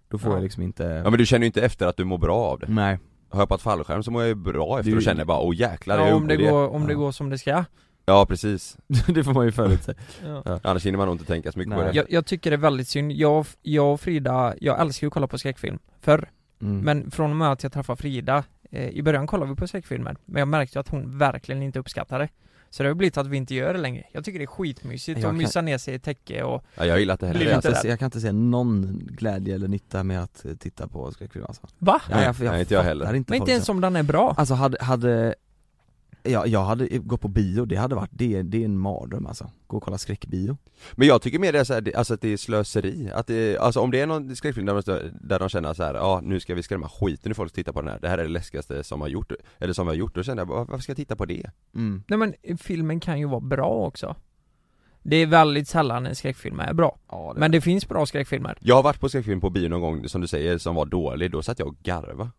Speaker 3: då får
Speaker 4: Ja.
Speaker 3: jag liksom inte
Speaker 2: Ja Mm. men du känner ju inte efter att du mår bra av det
Speaker 3: Nej,
Speaker 2: Har jag hoppat fallskärm så mår jag ju bra efter
Speaker 3: Du-
Speaker 2: och känner bara åh jäklar jag
Speaker 4: ja, om
Speaker 2: gjorde
Speaker 4: det,
Speaker 2: det
Speaker 4: går, om det
Speaker 3: Ja.
Speaker 4: går som det ska
Speaker 2: Ja precis,
Speaker 3: *laughs* det får man ju förutse
Speaker 4: ja.
Speaker 2: annars hinner man nog inte tänka så mycket på
Speaker 3: Nej.
Speaker 2: det
Speaker 4: jag, jag tycker det är väldigt synd, jag, jag och Frida, jag älskar ju att kolla på skräckfilm förr
Speaker 3: mm.
Speaker 4: Men från och med att jag träffade Frida eh, I början kollade vi på skräckfilmer Men jag märkte att hon verkligen inte uppskattade det Så det har blivit att vi inte gör det längre Jag tycker det är skitmysigt
Speaker 3: Jag
Speaker 4: att
Speaker 3: kan-
Speaker 4: mysa ner sig i ett täcke och
Speaker 2: ja, Jag gillar inte heller
Speaker 4: Blir
Speaker 3: jag,
Speaker 2: det
Speaker 3: kan
Speaker 4: inte
Speaker 3: inte
Speaker 4: rädd.
Speaker 3: se, jag kan inte se någon glädje eller nytta med att eh, titta på skräckfilm alltså.
Speaker 4: Va?
Speaker 2: Nej, nej, inte jag
Speaker 3: fattar
Speaker 2: heller.
Speaker 3: Inte
Speaker 4: Men inte
Speaker 3: folk
Speaker 4: ens om den är bra
Speaker 3: Alltså hade, hade Ja, jag hade gått på bio, det hade varit, det, är- det är en mardröm alltså. Gå och kolla skräckbio.
Speaker 2: Men jag tycker mer det är så här, det- alltså att det är slöseri, att det, alltså om det är någon skräckfilm där, man stö- där de känner så här, ja nu ska vi skrämma skiten ur folk som tittar på den här, det här är det läskigaste som har gjort, eller som vi har gjort, då känner jag bara, "Ah, varför ska jag titta på det?
Speaker 3: Mm.
Speaker 4: Nej men eh, filmen kan ju vara bra också Det är väldigt sällan en skräckfilm är bra
Speaker 3: Ja,
Speaker 4: Men det finns bra skräckfilmer
Speaker 2: Jag har varit på skräckfilm på bio någon gång, som du säger, som var dålig, då satt jag och garva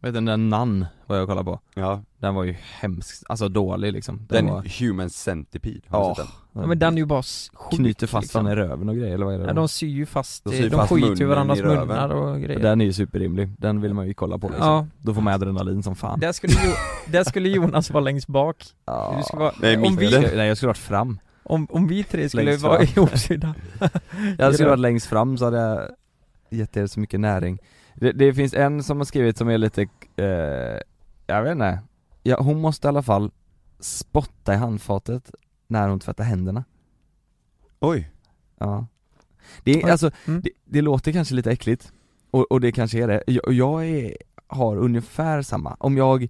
Speaker 3: Vet du, den där Nun var jag och kollade på.
Speaker 2: Ja,
Speaker 3: Den var ju hemsk, alltså dålig liksom. Den,
Speaker 2: den
Speaker 3: var,
Speaker 2: Human Centipede, har du
Speaker 3: Ja.
Speaker 2: sett den?
Speaker 4: ja, Men den är ju bara s- sjuk
Speaker 3: knyter fast
Speaker 4: liksom.
Speaker 3: den i röven och grejer eller vad är det?
Speaker 4: Ja, de syr ju fast,
Speaker 2: De
Speaker 4: de,
Speaker 2: syr
Speaker 4: de
Speaker 2: fast
Speaker 4: skiter ju
Speaker 2: munnen
Speaker 4: i varandras
Speaker 2: i röven.
Speaker 4: munnar och grejer
Speaker 3: Den är ju superrimlig, den vill man ju kolla på liksom.
Speaker 4: Ja,
Speaker 3: Då får man adrenalin som fan.
Speaker 4: där skulle, jo, där skulle Jonas vara längst bak
Speaker 3: Ja.
Speaker 4: Du ska vara,
Speaker 2: Nej,
Speaker 4: om,
Speaker 2: mitt-
Speaker 3: Jag
Speaker 4: vi,
Speaker 3: ska- Nej jag skulle varit fram.
Speaker 4: om, om vi tre skulle
Speaker 3: Längst
Speaker 4: vara
Speaker 3: fram.
Speaker 4: *laughs* ihopsydda
Speaker 3: Jag skulle
Speaker 4: Ja.
Speaker 3: varit längst fram så hade jag gett er så mycket näring. Det, det finns en som har skrivit som är lite, eh, jag vet inte. Ja, hon måste i alla fall spotta i handfatet när hon tvättar händerna.
Speaker 2: Oj!
Speaker 3: Ja. Det, är,
Speaker 4: Oj.
Speaker 3: alltså,
Speaker 4: Mm.
Speaker 3: det, det låter kanske lite äckligt, och, och det kanske är det. Jag, jag är, har ungefär samma. Om jag,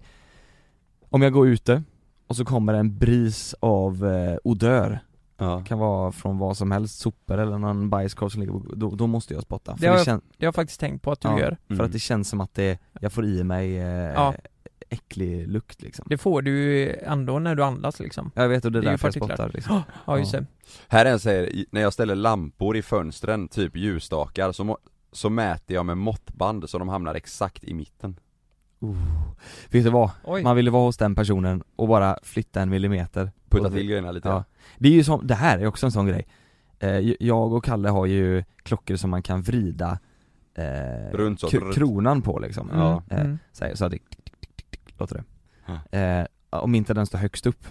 Speaker 3: om jag går ute och så kommer en bris av eh, odör,
Speaker 2: Ja.
Speaker 3: kan vara från vad som helst, sopor eller någon bajskorv som ligger på, då, då måste jag spotta. För,
Speaker 4: Det har
Speaker 3: det
Speaker 4: jag-
Speaker 3: kän,
Speaker 4: Det har jag faktiskt tänkt på att du
Speaker 3: Ja.
Speaker 4: gör
Speaker 2: Mm.
Speaker 3: för att det känns som att det, jag får i mig eh,
Speaker 4: Ja.
Speaker 3: äcklig lukt liksom.
Speaker 4: Det får du ju ändå när du
Speaker 2: *gasps*
Speaker 4: andas liksom
Speaker 3: Jag vet och det är
Speaker 4: Det är ju
Speaker 3: därför jag
Speaker 4: partiklar.
Speaker 3: spottar liksom.
Speaker 4: Ja just
Speaker 3: Ja.
Speaker 4: det,
Speaker 2: Här är en säger, i- när jag ställer lampor i fönstren, typ ljusstakar, så, må, så mäter jag med måttband så de hamnar exakt i mitten
Speaker 3: Vet du vad?
Speaker 4: oj
Speaker 3: Man ville vara hos den personen och bara flytta en millimeter.
Speaker 2: Putta
Speaker 3: Och-
Speaker 2: till grejerna lite
Speaker 3: Ja. Det är ju som, det här är också en sån grej. Eh, jag och Kalle har ju klockor som man kan vrida eh,
Speaker 2: Runt så,
Speaker 3: kro-
Speaker 2: runt.
Speaker 3: kronan på liksom.
Speaker 4: mm.
Speaker 2: Ja.
Speaker 4: Mm.
Speaker 3: Så, här, så här, tick, tick, tick, tick, tick, tick, låter det. Eh, om inte den står högst upp,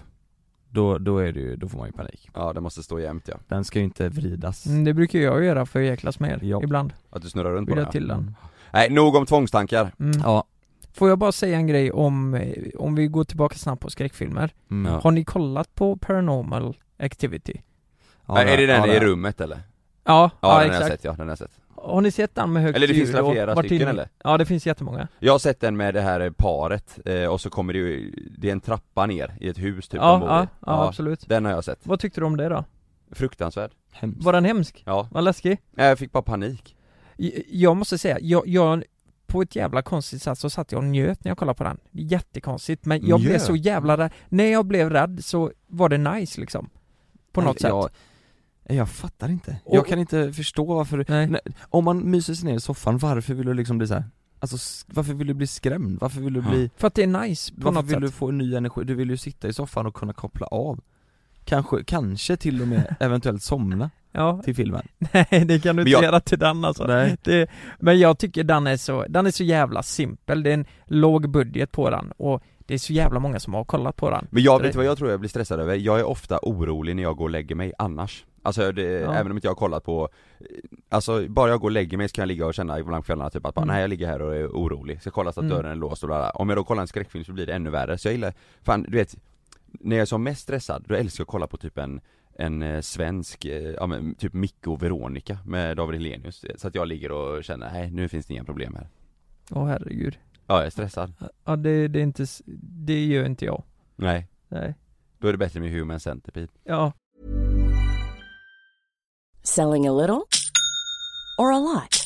Speaker 3: då, då, är det ju, då får man ju panik.
Speaker 2: Ja, det måste stå jämnt ja,
Speaker 3: Den ska ju inte vridas.
Speaker 4: Mm, Det brukar jag göra för att jäklas med er
Speaker 3: Ja.
Speaker 4: ibland,
Speaker 2: att du snurrar runt på
Speaker 4: vill
Speaker 2: den ja.
Speaker 4: jag till den
Speaker 2: Nej, nog om tvångstankar
Speaker 4: mm.
Speaker 3: Ja.
Speaker 4: Får jag bara säga en grej om, eh, om vi går tillbaka snabbt på skräckfilmer
Speaker 3: Mm.
Speaker 4: Har ni kollat på Paranormal Activity?
Speaker 3: Ja,
Speaker 2: Nej, Är det den
Speaker 3: ja,
Speaker 2: i rummet eller?
Speaker 4: Ja,
Speaker 2: Ja,
Speaker 4: ja,
Speaker 2: den har jag
Speaker 4: exakt
Speaker 2: sett, ja den har jag sett
Speaker 4: Har ni sett den med högt
Speaker 2: Eller det finns
Speaker 4: ljud och
Speaker 2: väl flera
Speaker 4: varit
Speaker 2: stycken
Speaker 4: inne-
Speaker 2: eller?
Speaker 4: Ja det finns jättemånga
Speaker 2: Jag har sett den med det här paret, eh, och så kommer det ju, det är en trappa ner i ett hus typ
Speaker 4: ja,
Speaker 2: de bor i.
Speaker 4: ja, ja, absolut
Speaker 2: Den har jag sett
Speaker 4: Vad tyckte du om det då?
Speaker 2: Fruktansvärd
Speaker 3: Hemskt.
Speaker 4: Var den hemsk?
Speaker 2: Ja,
Speaker 4: Var den läskig?
Speaker 2: Nej, jag fick bara panik
Speaker 4: J- Jag måste säga, jag, jag på ett jävla konstigt sätt så satt jag och njöt när jag kollade på den. Jättekonstigt, men jag blev
Speaker 2: Njöt?
Speaker 4: så jävla rädd. När jag blev rädd så var det nice liksom. På något
Speaker 3: jag,
Speaker 4: sätt.
Speaker 3: Jag, fattar inte.
Speaker 4: Och-
Speaker 3: jag kan inte förstå varför,
Speaker 4: Nej.
Speaker 3: Nej. om man myser sig ner i soffan, varför vill du liksom bli så här? Alltså s- varför vill du bli skrämd? Varför vill du
Speaker 2: Ja.
Speaker 3: bli,
Speaker 4: För att det är nice på
Speaker 3: varför
Speaker 4: något
Speaker 3: vill
Speaker 4: sätt.
Speaker 3: du få ny energi? Du vill ju sitta i soffan och kunna koppla av Kanske, kanske till och med eventuellt somna
Speaker 4: *laughs* Ja,
Speaker 3: till filmen
Speaker 4: nej det kan du inte
Speaker 2: Men jag-
Speaker 4: göra till den alltså.
Speaker 3: Nej.
Speaker 4: Det, men jag tycker den är så, den är så jävla simpel. Det är en låg budget på den och det är så jävla många som har kollat på den.
Speaker 2: Men jag vet du vad jag tror jag blir stressad över? Jag är ofta orolig när jag går och lägger mig annars Alltså det,
Speaker 4: Ja.
Speaker 2: även om inte jag har kollat på Alltså bara jag går och lägger mig så kan jag ligga och känna ibland på kvällarna typ att bara,
Speaker 4: Mm.
Speaker 2: nej jag ligger här och är orolig, ska kolla så att
Speaker 4: Mm.
Speaker 2: dörren är låst och bla, bla. Om jag då kollar en skräckfilm så blir det ännu värre, så jag gillar, fan du vet När jag är som mest stressad, då älskar jag att kolla på typ en en eh, svensk, eh, ja men typ Micke och Veronica med David Hellenius eh, Så att jag ligger och känner, nej nu finns det inga problem här
Speaker 4: Åh herregud.
Speaker 2: Ja jag är stressad,
Speaker 4: Ja det, det är inte, s- det gör inte jag.
Speaker 2: nej
Speaker 4: Nej.
Speaker 2: Då är det bättre med Human Centipede
Speaker 4: Ja.
Speaker 8: Selling a little or a lot?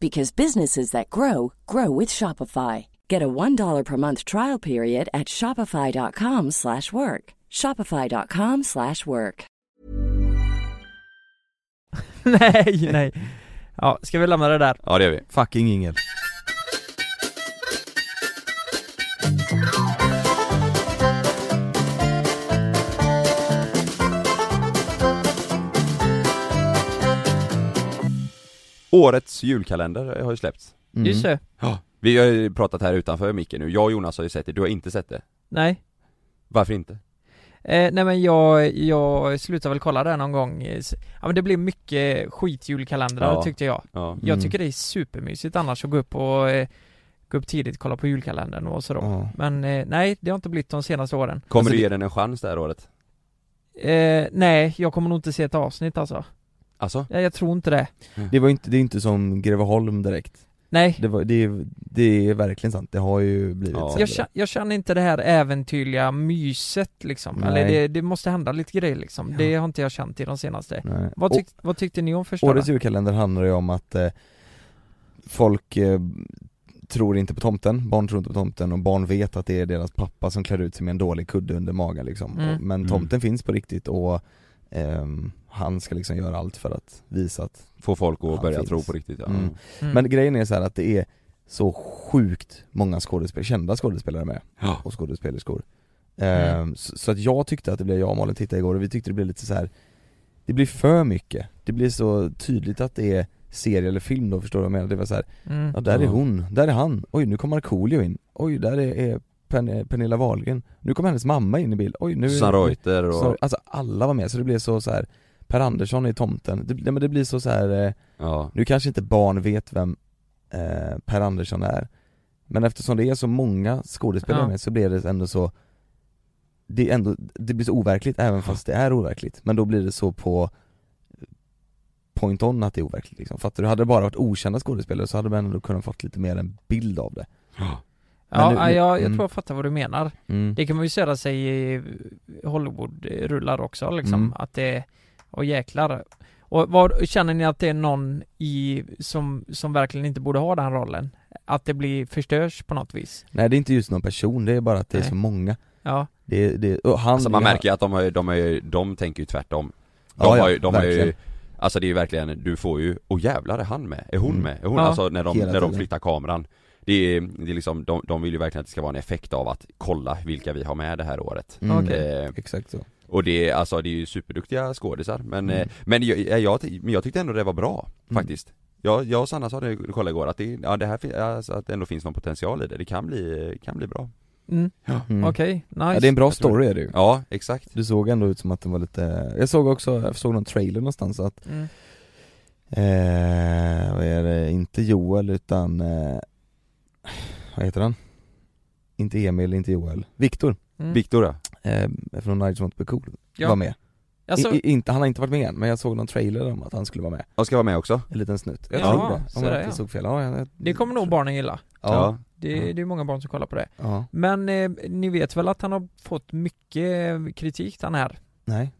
Speaker 8: because businesses that grow grow with Shopify. Get a $1 per month trial period at shopify.com/work. slash work. shopify.com/work. slash work.
Speaker 4: *laughs* nej, nej. Ja, ska vi lämna det där?
Speaker 2: Ja det gör vi
Speaker 3: Fucking ingen
Speaker 2: Årets julkalender har ju släppts.
Speaker 3: Mm.
Speaker 4: Just det.
Speaker 2: Ja. Vi har ju pratat här utanför micken nu, jag och Jonas har ju sett det, du har inte sett det.
Speaker 4: Nej.
Speaker 2: Varför inte?
Speaker 4: Eh, nej men jag, jag slutar väl kolla där någon gång. Eh, s- Ja men det blir mycket skitjulkalendrar
Speaker 2: Ja.
Speaker 4: tyckte jag.
Speaker 2: Ja.
Speaker 4: Jag
Speaker 3: Mm.
Speaker 4: tycker det är supermysigt annars att gå upp och eh, gå upp tidigt, kolla på julkalendern och sådär.
Speaker 3: Ja.
Speaker 4: Men eh, nej, det har inte blivit de senaste åren.
Speaker 2: Kommer
Speaker 3: Alltså,
Speaker 2: du
Speaker 3: det-
Speaker 2: ge den en chans det här året?
Speaker 4: Eh, nej, jag kommer nog inte se ett avsnitt alltså.
Speaker 2: Alltså?
Speaker 4: Jag, jag tror inte det.
Speaker 3: Det var inte, det är inte som Greveholm direkt
Speaker 4: Nej.
Speaker 3: Det var, det är, det är verkligen sant, det har ju blivit
Speaker 2: Ja.
Speaker 3: sämre.
Speaker 4: Jag, kä- jag känner inte det här äventyrliga myset liksom.
Speaker 3: Nej.
Speaker 4: Eller det, det måste hända lite grejer liksom.
Speaker 3: Ja.
Speaker 4: Det har inte jag känt i de senaste.
Speaker 3: Nej.
Speaker 4: Vad,
Speaker 3: Och-
Speaker 4: tyck, vad tyckte ni om första?
Speaker 3: Årets
Speaker 4: då?
Speaker 3: julkalender handlar ju om att eh, folk eh, tror inte på tomten, barn tror inte på tomten och barn vet att det är deras pappa som klär ut sig med en dålig kudde under magen liksom.
Speaker 4: Mm.
Speaker 3: Och, men tomten finns på riktigt och ehm, han ska liksom göra allt för att visa att
Speaker 2: Få folk att
Speaker 3: Han
Speaker 2: börja
Speaker 3: finns.
Speaker 2: tro på riktigt ja.
Speaker 3: Mm.
Speaker 4: Mm.
Speaker 3: Men grejen är så här att det är så sjukt många skådespelare, kända skådespelare med
Speaker 2: Ja.
Speaker 3: och skådespelerskor Ehm, så, så att jag tyckte att det blev, jag och Malin tittade igår och vi tyckte det blev lite så här. Det blir för mycket, det blir så tydligt att det är serie eller film då, förstår du vad jag menar? Det var så här,
Speaker 4: Mm.
Speaker 3: ja där är
Speaker 2: Ja.
Speaker 3: hon, där är han, oj nu kommer Markoolio in, oj där är, är Pern- Pernilla Wahlgren, nu kommer hennes mamma in i bild, oj nu är
Speaker 2: Susanne Reuter och...
Speaker 3: Så, Alltså alla var med, så det blev så, så här. Per Andersson är tomten, det, nej, men det blir så, så här. Eh,
Speaker 2: Ja.
Speaker 3: nu kanske inte barn vet vem eh, Per Andersson är Men eftersom det är så många skådespelare
Speaker 4: Ja.
Speaker 3: med så blir det ändå så Det är ändå, det blir så overkligt även fast det är overkligt Men då blir det så på point on att det är overkligt liksom. Fattar du? Hade det bara varit okända skådespelare så hade man ändå kunnat fått lite mer en bild av det
Speaker 4: Ja,
Speaker 3: Men nu-
Speaker 4: ja, jag, jag
Speaker 3: mm.
Speaker 4: tror jag fattar vad du menar.
Speaker 3: mm.
Speaker 4: Det kan man ju säga sig i Hollywood-rullar också liksom,
Speaker 3: Mm.
Speaker 4: att det och jäklar. Och vad, känner ni att det är någon i, som, som verkligen inte borde ha den rollen? Att det blir, förstörs på något vis?
Speaker 3: Nej det är inte just någon person, det är bara att det är
Speaker 4: Nej.
Speaker 3: så många
Speaker 4: Ja,
Speaker 3: det, det, och han,
Speaker 2: Alltså man märker ju att de har ju, de har ju, de tänker ju tvärtom. De
Speaker 3: Ja, ja,
Speaker 2: har ju, de har ju
Speaker 3: verkligen.
Speaker 2: Alltså det är ju verkligen, du får ju, åh jävlar är han med? Är hon
Speaker 3: Mm.
Speaker 2: med? Är hon,
Speaker 4: Ja.
Speaker 2: alltså när de,
Speaker 3: Hela
Speaker 2: när de
Speaker 3: tiden.
Speaker 2: flyttar kameran Det är, det är liksom, de, de vill ju verkligen att det ska vara en effekt av att kolla vilka vi har med det här året
Speaker 3: mm,
Speaker 4: Okej.
Speaker 2: eh,
Speaker 3: Exakt så
Speaker 2: Och det, är- alltså, det är ju superduktiga skådisar men,
Speaker 3: Mm.
Speaker 2: eh, men, jag, jag- jag, ty- men jag tyckte ändå det var bra
Speaker 3: Mm.
Speaker 2: faktiskt jag, jag och Sanna sa det, kollade igår, att det, ja, det här, fin- alltså, att det ändå finns någon potential i det, det kan bli, kan bli bra
Speaker 4: Mm.
Speaker 3: Mm.
Speaker 4: Okej, nice.
Speaker 3: Ja, det är en bra
Speaker 2: Jag tror
Speaker 3: story är det ju
Speaker 2: Ja, exakt.
Speaker 3: Du såg ändå ut som att den var lite, jag såg också, jag såg någon trailer någonstans att,
Speaker 4: mm.
Speaker 3: eh, vad är det, inte Joel utan, eh, vad heter han? Inte Emil, inte Joel, Viktor,
Speaker 4: Mm.
Speaker 2: Viktor ja.
Speaker 3: eh, från Night Won't Be Cool,
Speaker 4: Ja.
Speaker 3: var med.
Speaker 4: Alltså,
Speaker 3: I, i, inte, han har inte varit med än, men jag såg någon trailer om att han skulle vara med,
Speaker 2: Jag ska vara med också.
Speaker 3: en liten snutt. Jag
Speaker 4: Jaha,
Speaker 3: tror det, om
Speaker 4: så
Speaker 3: jag
Speaker 4: där,
Speaker 3: inte
Speaker 4: ja.
Speaker 3: såg fel. Ja, jag, jag,
Speaker 4: det kommer nog barnen gilla.
Speaker 3: Ja,
Speaker 4: Det,
Speaker 3: Ja.
Speaker 4: det är många barn som kollar på det.
Speaker 3: ja,
Speaker 4: Men eh, ni vet väl att han har fått mycket eh, kritik den här?
Speaker 3: nej,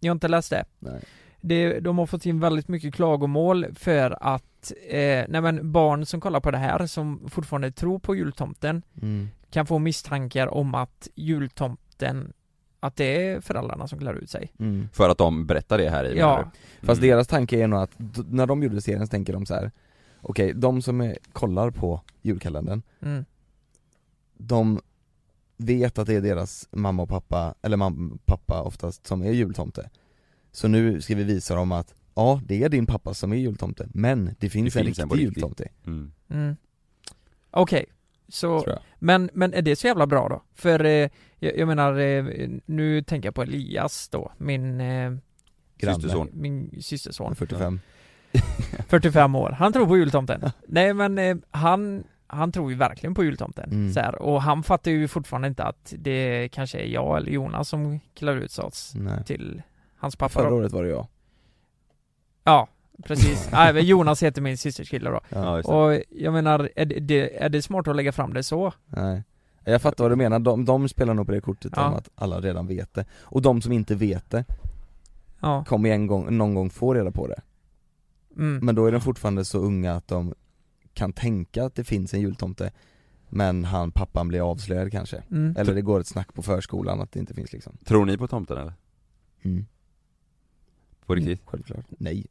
Speaker 4: Jag har inte läst det.
Speaker 3: nej.
Speaker 4: det de har fått in väldigt mycket klagomål för att eh, nej men barn som kollar på det här som fortfarande tror på jultomten
Speaker 3: Mm.
Speaker 4: kan få misstankar om att jultomten att det är föräldrarna som klär ut sig.
Speaker 3: Mm.
Speaker 2: För att de berättar det här i
Speaker 4: Ja.
Speaker 2: menar du?
Speaker 3: Fast
Speaker 2: Mm.
Speaker 3: deras tanke är nog att, d- när de gjorde serien så tänker de så här. okej, de som är, kollar på julkalendern
Speaker 4: Mm.
Speaker 3: de vet att det är deras mamma och pappa, eller mamma och pappa oftast, som är jultomte. Så nu ska vi visa dem att, ja det är din pappa som är jultomte, men det finns, en
Speaker 2: finns en
Speaker 3: riktig
Speaker 2: på riktigt.
Speaker 3: jultomte.
Speaker 2: Mm.
Speaker 4: Mm. Okej, så
Speaker 3: Tror jag.
Speaker 4: men, men är det så jävla bra då? För eh, jag, jag menar, eh, nu tänker jag på Elias då, min, eh,
Speaker 3: Granne.
Speaker 2: Systerson.
Speaker 4: min systerson.
Speaker 3: 45.
Speaker 4: 45 år, han tror på jultomten. Nej men eh, han, han tror ju verkligen på jultomten.
Speaker 3: Mm.
Speaker 4: Så här, och han fattar ju fortfarande inte att det kanske är jag eller Jonas som klär ut oss
Speaker 3: Nej.
Speaker 4: till hans pappa.
Speaker 3: Förra
Speaker 4: Då.
Speaker 3: året var det jag.
Speaker 4: Ja, precis. Nej, men Jonas heter min systers kille då.
Speaker 2: Ja, just det.
Speaker 4: Och jag menar, är det- det, är det smart att lägga fram det så?
Speaker 3: Nej. Jag fattar vad du menar, de, de spelar nog på det kortet
Speaker 4: Ja.
Speaker 3: om att alla redan vet det. Och de som inte vet det
Speaker 4: Ja.
Speaker 3: kommer en gång, någon gång få reda på det.
Speaker 4: Mm.
Speaker 3: Men då är de fortfarande så unga att de kan tänka att det finns en jultomte, men han, pappan blir avslöjad kanske.
Speaker 4: Mm.
Speaker 3: Eller det går ett snack på förskolan att det inte finns liksom
Speaker 2: Tror ni på tomten eller? På riktigt?
Speaker 3: Mm. Självklart Nej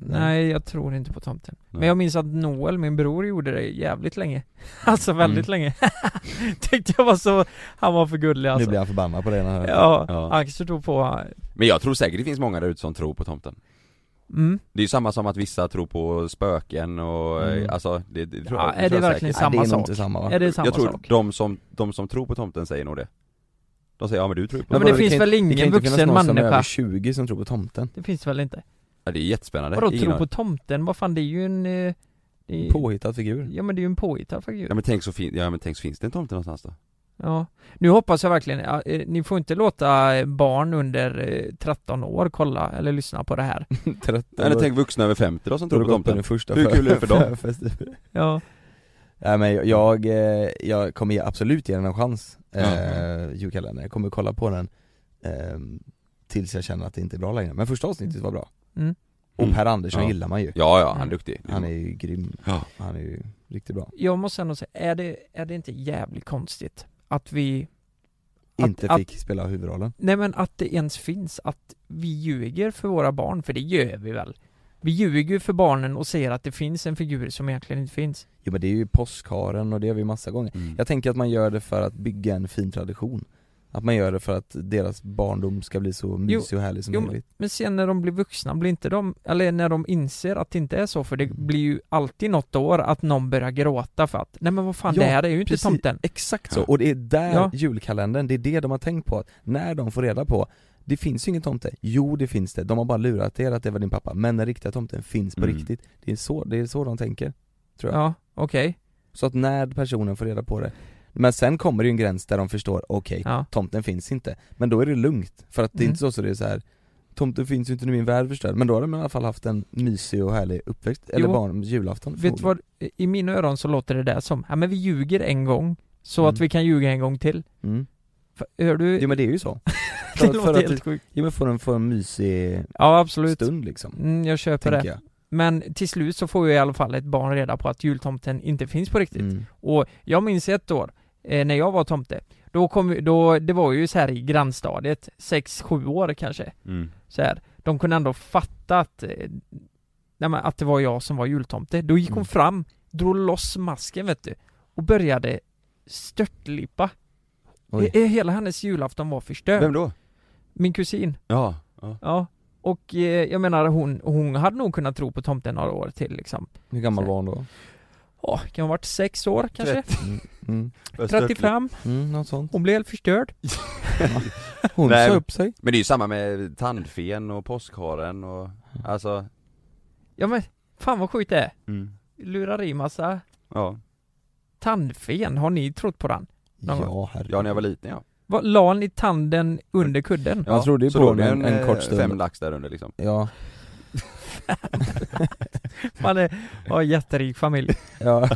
Speaker 4: Nej, jag tror inte på tomten.
Speaker 2: Nej.
Speaker 4: Men jag minns att Noel, min bror, gjorde det jävligt länge. *laughs* Alltså väldigt länge. *laughs* Tyckte jag var så, han var för gullig
Speaker 3: Nu
Speaker 4: alltså.
Speaker 3: blir han förbannad på det när han hör
Speaker 4: Ja,
Speaker 2: Ja.
Speaker 4: Axel tror på...
Speaker 2: Men jag tror säkert det finns många där ute som tror på tomten
Speaker 4: Mm.
Speaker 2: Det är ju samma som att vissa tror på spöken och eh,
Speaker 3: Mm.
Speaker 2: alltså det, det tror
Speaker 4: Ja,
Speaker 2: jag, det
Speaker 4: är
Speaker 2: tror
Speaker 4: det
Speaker 2: jag
Speaker 4: verkligen
Speaker 2: säkert.
Speaker 3: det. Nej,
Speaker 4: samma
Speaker 3: det är nog
Speaker 4: sak?
Speaker 3: inte samma va?
Speaker 4: Är det samma
Speaker 2: Jag tror
Speaker 4: sak?
Speaker 2: de som, de som tror på tomten säger nog det De säger ja men du tror ju på tomten
Speaker 4: Ja, men det
Speaker 3: vadå,
Speaker 4: finns
Speaker 3: kan
Speaker 4: väl
Speaker 3: ju-
Speaker 4: ingen
Speaker 3: Det kan ju inte
Speaker 4: vuxen
Speaker 3: finnas någon som är
Speaker 4: människa?
Speaker 3: över 20 som tror på tomten
Speaker 4: Det finns väl inte?
Speaker 2: ja, det är jättespännande
Speaker 4: Vadå
Speaker 2: Ingen
Speaker 4: tro
Speaker 2: aning.
Speaker 4: på tomten? Vad fan det är ju en... eh, Det är,
Speaker 3: Påhittad
Speaker 4: *laughs*
Speaker 3: figur
Speaker 4: Ja men det är ju en påhittad figur.
Speaker 2: Ja men tänk så fin, ja men tänk så finns det en tomte någonstans då?
Speaker 4: Ja. Nu hoppas jag verkligen, ja, eh, ni får inte låta eh, barn under eh, 13 år kolla eller lyssna på det här.
Speaker 3: 13
Speaker 2: Eller tänk vuxna över 50 då som tror på tomten
Speaker 3: den första
Speaker 2: Hur kul är det
Speaker 3: *laughs*
Speaker 2: för dem?
Speaker 3: dem?
Speaker 4: Ja.
Speaker 3: Nej men jag, jag, eh, jag kommer ge- absolut ge den en chans, eh,
Speaker 2: Ja.
Speaker 3: julkalendern, jag kommer kolla på den eh, Tills jag känner att det inte är bra längre, men första avsnittet var bra
Speaker 4: Mm.
Speaker 3: Och
Speaker 2: Mm.
Speaker 3: Per Andersson
Speaker 2: Ja.
Speaker 3: gillar man ju
Speaker 2: Ja ja, han
Speaker 4: Mm.
Speaker 2: är duktig
Speaker 3: Han är ju grym,
Speaker 2: Ja.
Speaker 3: han är ju riktigt bra
Speaker 4: Jag måste ändå säga, är det, är det inte jävligt konstigt att vi... Att-
Speaker 3: Inte
Speaker 4: att-
Speaker 3: fick spela huvudrollen
Speaker 4: Nej men att det ens finns att vi ljuger för våra barn, för det gör vi väl? Vi ljuger ju för barnen och säger att det finns en figur som egentligen inte finns.
Speaker 3: Jo men det är ju påskharen och det har vi massa gånger
Speaker 2: Mm.
Speaker 3: Jag tänker att man gör det för att bygga en fin tradition Att man gör det för att deras barndom ska bli så mysig och härlig som
Speaker 4: jo,
Speaker 3: möjligt
Speaker 4: Men sen när de blir vuxna, blir inte de, eller när de inser att det inte är så, för det
Speaker 3: Mm.
Speaker 4: blir ju alltid något år att någon börjar gråta för att nej men vad fan
Speaker 3: Ja,
Speaker 4: det här är ju inte
Speaker 3: precis.
Speaker 4: tomten.
Speaker 3: Exakt så, och det är där
Speaker 4: Ja.
Speaker 3: julkalendern, det är det de har tänkt på att när de får reda på det finns ju ingen tomte, jo det finns det, de har bara lurat er att det var din pappa, men den riktiga tomten finns på
Speaker 2: Mm.
Speaker 3: riktigt Det är så, det är så de tänker tror jag.
Speaker 4: Ja, okej.
Speaker 3: Så att när personen får reda på det Men sen kommer det ju en gräns där de förstår, okej,
Speaker 4: Ja.
Speaker 3: tomten finns inte Men då är det lugnt, för att det är
Speaker 4: Mm.
Speaker 3: inte så så det är så här. Tomten finns ju inte nu min värld förstörd, men då har de i alla fall haft en mysig och härlig uppväxt, eller
Speaker 4: Jo.
Speaker 3: barn, julafton
Speaker 4: Vet du vad, i mina öron så låter det där som, ja men vi ljuger en gång, så
Speaker 3: Mm.
Speaker 4: att vi kan ljuga en gång till.
Speaker 3: vad? Mm.
Speaker 4: För, hör du? *laughs*
Speaker 3: Jo men det är ju så
Speaker 4: det
Speaker 3: för, för
Speaker 4: låter
Speaker 3: att,
Speaker 4: helt sjukt.
Speaker 3: jo men får en, får en mysig
Speaker 4: Ja absolut.
Speaker 3: stund liksom,
Speaker 4: Mm, jag köper det.
Speaker 3: tänker jag
Speaker 4: Men till slut så får ju i alla fall ett barn reda på att jultomten inte finns på riktigt.
Speaker 3: mm.
Speaker 4: Och jag minns ett år, eh, när jag var tomte, då kom vi, då, det var ju så här i grannstadiet, 6-7 år kanske,
Speaker 2: Mm.
Speaker 4: så här. De kunde ändå fatta att, eh, nej, men att det var jag som var jultomte. Då gick hon
Speaker 3: Mm.
Speaker 4: fram, drog loss masken vet du, och började störtlipa.
Speaker 3: Oj.
Speaker 4: Eh, eh, Hela hennes julafton var förstörd.
Speaker 2: Vem då?
Speaker 4: Min kusin.
Speaker 2: Ja, ja.
Speaker 4: Ja. Och eh, jag menar hon, hon hade nog kunnat tro på tomten några år till liksom.
Speaker 3: Hur gammal var hon då?
Speaker 4: åh, kan ha varit sex år kanske?
Speaker 3: Mm, mm,
Speaker 2: Östört-
Speaker 4: 35?
Speaker 3: mm, något
Speaker 4: *laughs*
Speaker 3: sånt.
Speaker 4: Hon blev helt förstörd.
Speaker 3: Hon
Speaker 2: Nej,
Speaker 3: sa
Speaker 2: men-
Speaker 3: upp sig.
Speaker 2: Men det är ju samma med tandfen och påskharen och, alltså,
Speaker 4: Ja men, fan vad sjukt det är.
Speaker 2: mm.
Speaker 4: Lurar i massa
Speaker 2: ja.
Speaker 4: tandfen, har ni trott på den? Någon gång.
Speaker 3: Ja, herregud.
Speaker 2: ja, när jag var liten ja.
Speaker 4: Vad, la ni tanden
Speaker 2: *laughs*
Speaker 4: under kudden?
Speaker 3: Ja, man trodde ju
Speaker 2: så
Speaker 3: på
Speaker 2: låg
Speaker 3: den
Speaker 2: det
Speaker 3: en, en
Speaker 2: eh,
Speaker 3: kort stund.
Speaker 2: Fem lax där under liksom.
Speaker 3: Ja,
Speaker 4: Man är, har en jätterik familj. *laughs*
Speaker 3: ja.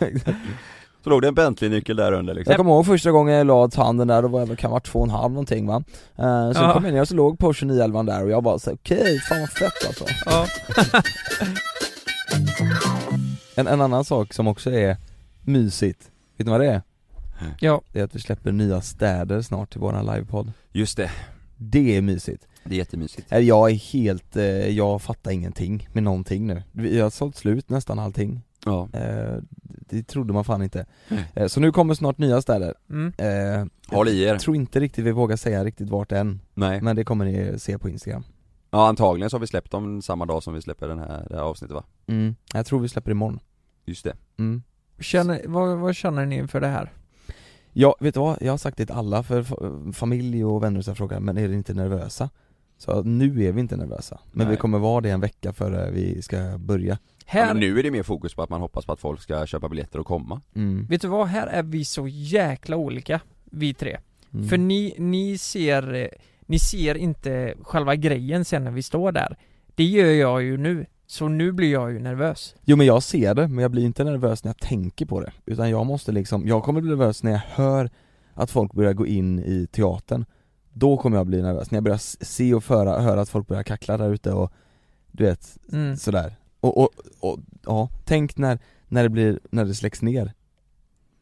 Speaker 2: Så låg det en Bentley-nyckel där under liksom.
Speaker 3: Jag kommer ihåg första gången jag la tanden där, då var jag väl kan vara två och en halv någonting va? Eh, så
Speaker 4: Ja.
Speaker 3: kom jag ner och så låg Porsche 911 där och jag bara så här, okej, fan vad fett alltså.
Speaker 4: Ja.
Speaker 3: En, en annan sak som också är mysigt, vet ni vad det är?
Speaker 4: ja.
Speaker 3: Det är att vi släpper nya städer snart till våran livepodd.
Speaker 2: Just det,
Speaker 3: Det är mysigt.
Speaker 2: det är jättemysigt.
Speaker 3: Eh, Jag är helt, eh, jag fattar ingenting med någonting nu. Vi har sålt slut nästan allting.
Speaker 2: Ja.
Speaker 3: Eh, det trodde man fan inte.
Speaker 2: Nej.
Speaker 3: Eh, så nu kommer snart nya städer.
Speaker 4: Mm.
Speaker 3: Eh,
Speaker 2: Håll i er.
Speaker 3: jag tror inte riktigt vi vågar säga riktigt vart än,
Speaker 2: Nej.
Speaker 3: men det kommer ni se på Instagram.
Speaker 2: Ja antagligen så har vi släppt dem samma dag som vi släpper den här, det här avsnittet va?
Speaker 3: Mm. Jag tror vi släpper imorgon.
Speaker 2: Just det.
Speaker 3: Mm.
Speaker 4: Känner, vad, vad känner ni inför det här?
Speaker 3: Ja, vet du vad? Jag har sagt det till alla, för fa- familj och vänner så frågar men är ni inte nervösa? Så nu är vi inte nervösa, men
Speaker 2: Nej.
Speaker 3: vi kommer vara det en vecka före vi ska börja
Speaker 2: Ja,
Speaker 4: Här,
Speaker 2: men nu är det mer fokus på att man hoppas på att folk ska köpa biljetter och komma.
Speaker 3: mm.
Speaker 4: vet du vad? Här är vi så jäkla olika, vi tre.
Speaker 3: Mm.
Speaker 4: För ni, ni ser, eh, ni ser inte själva grejen sen när vi står där. Det gör jag ju nu. Så nu blir jag ju nervös.
Speaker 3: Jo men jag ser det, men jag blir inte nervös när jag tänker på det Utan jag måste liksom, jag kommer bli nervös när jag hör att folk börjar gå in i teatern Då kommer jag bli nervös, när jag börjar s- se och föra, höra att folk börjar kackla där ute och du vet,
Speaker 4: Mm.
Speaker 3: sådär Och, och, och ja, tänk när, när det blir, när det släcks ner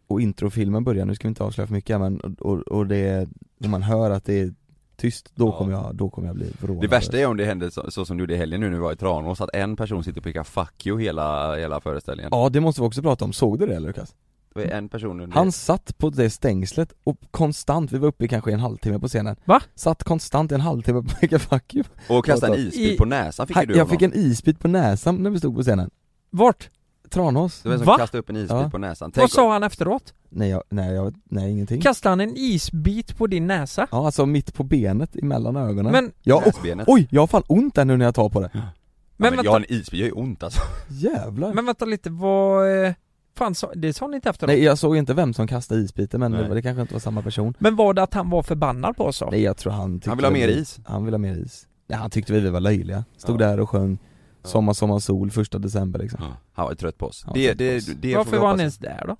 Speaker 3: och introfilmen börjar, nu ska vi inte avslöja för mycket men och, och det, om man hör att det är tyst, då
Speaker 2: Ja.
Speaker 3: kommer jag, då kommer jag bli förvånad
Speaker 2: Det värsta är om det händer så, så som du gjorde i helgen nu när vi var i Tranås, att en person sitter och pekar 'fuck you' hela, hela föreställningen.
Speaker 3: Ja det måste vi också prata om, såg du det Lukas?
Speaker 2: Det var en person under...
Speaker 3: Han satt på det stängslet och konstant, vi var uppe i kanske en halvtimme på scenen
Speaker 4: Va?
Speaker 3: Satt konstant en halvtimme på Mega Fuck You
Speaker 2: Och kastade en
Speaker 3: I-
Speaker 2: isbit på näsan fick ju du
Speaker 3: Jag
Speaker 2: honom.
Speaker 3: fick en isbit på näsan när vi stod på scenen
Speaker 4: Vart?
Speaker 3: Tranås
Speaker 2: Det var en som
Speaker 4: Va?
Speaker 2: kastade upp en isbit
Speaker 3: Ja.
Speaker 2: på näsan.
Speaker 4: Vad
Speaker 2: Tänk om,
Speaker 4: sa han efteråt?
Speaker 3: Nej jag, nej jag, nej ingenting
Speaker 4: Kastade han en isbit på din näsa?
Speaker 3: Ja alltså mitt på benet emellan ögonen
Speaker 4: Men,
Speaker 3: ja, oh,
Speaker 2: näsbenet.
Speaker 3: Oj, jag har fan ont där nu när jag tar på det
Speaker 2: men, ja,
Speaker 4: men,
Speaker 2: men jag
Speaker 4: vänta,
Speaker 2: har en isbit, jag gör ju ont alltså.
Speaker 3: Jävlar
Speaker 4: men vänta lite, vad... eh, Fan, sa, det sa ni inte efteråt?
Speaker 3: Nej jag såg inte vem som kastade isbiten men det,
Speaker 2: Nej.
Speaker 3: var- det kanske inte var samma person
Speaker 4: Men var det att han var förbannad på oss? då?
Speaker 3: Nej jag tror han tyckte
Speaker 2: Han vill ha mer
Speaker 3: vi-
Speaker 2: is.
Speaker 3: Han vill ha mer is Nej han tyckte vi var löjliga, stod
Speaker 2: Ja.
Speaker 3: där och sjöng
Speaker 2: Ja.
Speaker 3: Sommar, sommar, sol, första december liksom
Speaker 2: Han var ju trött på oss.
Speaker 3: Han var
Speaker 2: det,
Speaker 3: trött på
Speaker 2: det,
Speaker 3: oss.
Speaker 2: det, det får vi
Speaker 4: Varför var
Speaker 2: hoppas.
Speaker 4: han ens där då?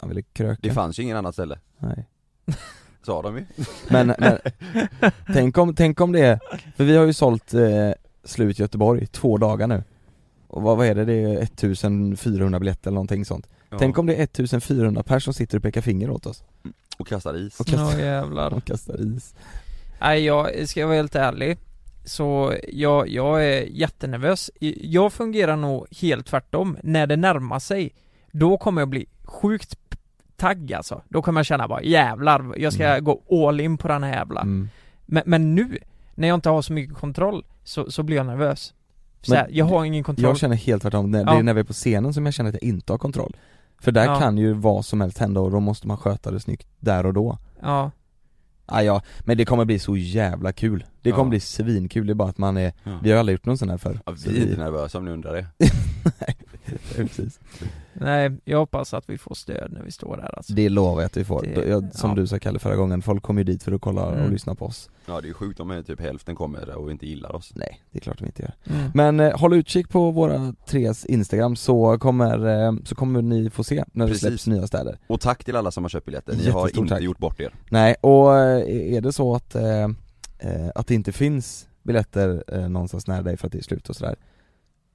Speaker 3: Han ville kröka
Speaker 2: Det fanns ju ingen annat ställe,
Speaker 3: Nej
Speaker 2: sa de ju.
Speaker 3: Men,
Speaker 2: *laughs*
Speaker 3: men tänk, om, tänk om det är, för vi har ju sålt eh, slut Göteborg två dagar nu Och vad, vad är det, det är 1400 biljetter eller någonting sånt
Speaker 2: Ja.
Speaker 3: Tänk om det är 1400 personer som sitter och pekar finger åt oss
Speaker 2: Och kastade is.
Speaker 3: och
Speaker 4: Ja
Speaker 3: kastar,
Speaker 4: jävlar.
Speaker 3: och kastar is
Speaker 4: Nej jag, ska jag vara helt ärlig Så jag, jag är jättenervös Jag fungerar nog helt tvärtom När det närmar sig Då kommer jag bli sjukt tagg alltså Då kommer jag känna bara jävlar Jag ska
Speaker 3: Mm.
Speaker 4: gå all in på den här jävla
Speaker 3: mm.
Speaker 4: men, men nu När jag inte har så mycket kontroll Så, så blir jag nervös så
Speaker 3: Men
Speaker 4: här, Jag har ingen kontroll
Speaker 3: Jag känner helt tvärtom, det det
Speaker 4: Ja.
Speaker 3: är när vi är på scenen som jag känner att jag inte har kontroll För där
Speaker 4: Ja.
Speaker 3: kan ju vad som helst hända och då måste man sköta det snyggt där och då
Speaker 4: Ja
Speaker 3: ah, ja, men det kommer bli så jävla kul Det kommer
Speaker 2: Ja.
Speaker 3: bli svinkul, det är bara att man är,
Speaker 2: Ja.
Speaker 3: vi har aldrig gjort någon sån här förr
Speaker 2: Ja,
Speaker 3: Så
Speaker 2: vi är inte nervösa om ni undrar det.
Speaker 3: *laughs* Precis
Speaker 4: Nej jag hoppas att vi får stöd när vi står där alltså
Speaker 3: Det lovar jag att vi får.
Speaker 4: Det-
Speaker 3: jag, som
Speaker 4: ja.
Speaker 3: du sa Kalle förra gången, folk kommer ju dit för att kolla och
Speaker 4: Mm.
Speaker 3: lyssna på oss.
Speaker 2: Ja det är sjukt om typ hälften kommer och inte gillar oss.
Speaker 3: Nej, det är klart de inte gör.
Speaker 4: mm.
Speaker 3: Men eh, håll utkik på våra tres Instagram så kommer, eh, så kommer ni få se när
Speaker 2: Precis.
Speaker 3: det släpps nya städer.
Speaker 2: Och tack till alla som har köpt biljetter, ni har
Speaker 3: Jättestort
Speaker 2: inte
Speaker 3: tack.
Speaker 2: gjort bort er.
Speaker 3: Nej, och eh, är det så att, eh, eh, att det inte finns biljetter eh, någonstans nära dig för att det är slut och sådär.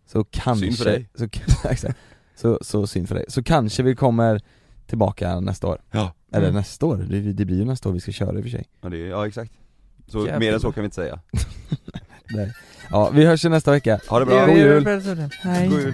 Speaker 3: Så kanske...
Speaker 2: Synd för dig.
Speaker 3: Så, *laughs* exakt. så, så synd för dig. Så kanske vi kommer tillbaka nästa år.
Speaker 2: Ja.
Speaker 3: Eller
Speaker 4: Mm.
Speaker 3: nästa år, det, det blir ju nästa år vi ska köra i och för sig.
Speaker 2: Ja, det, ja exakt. Så
Speaker 4: Jävlar.
Speaker 2: mer än så kan vi inte säga.
Speaker 3: Nej. Ja, vi hörs ju nästa vecka.
Speaker 2: Ha det bra.
Speaker 3: God jul!
Speaker 4: Hej.
Speaker 2: God jul.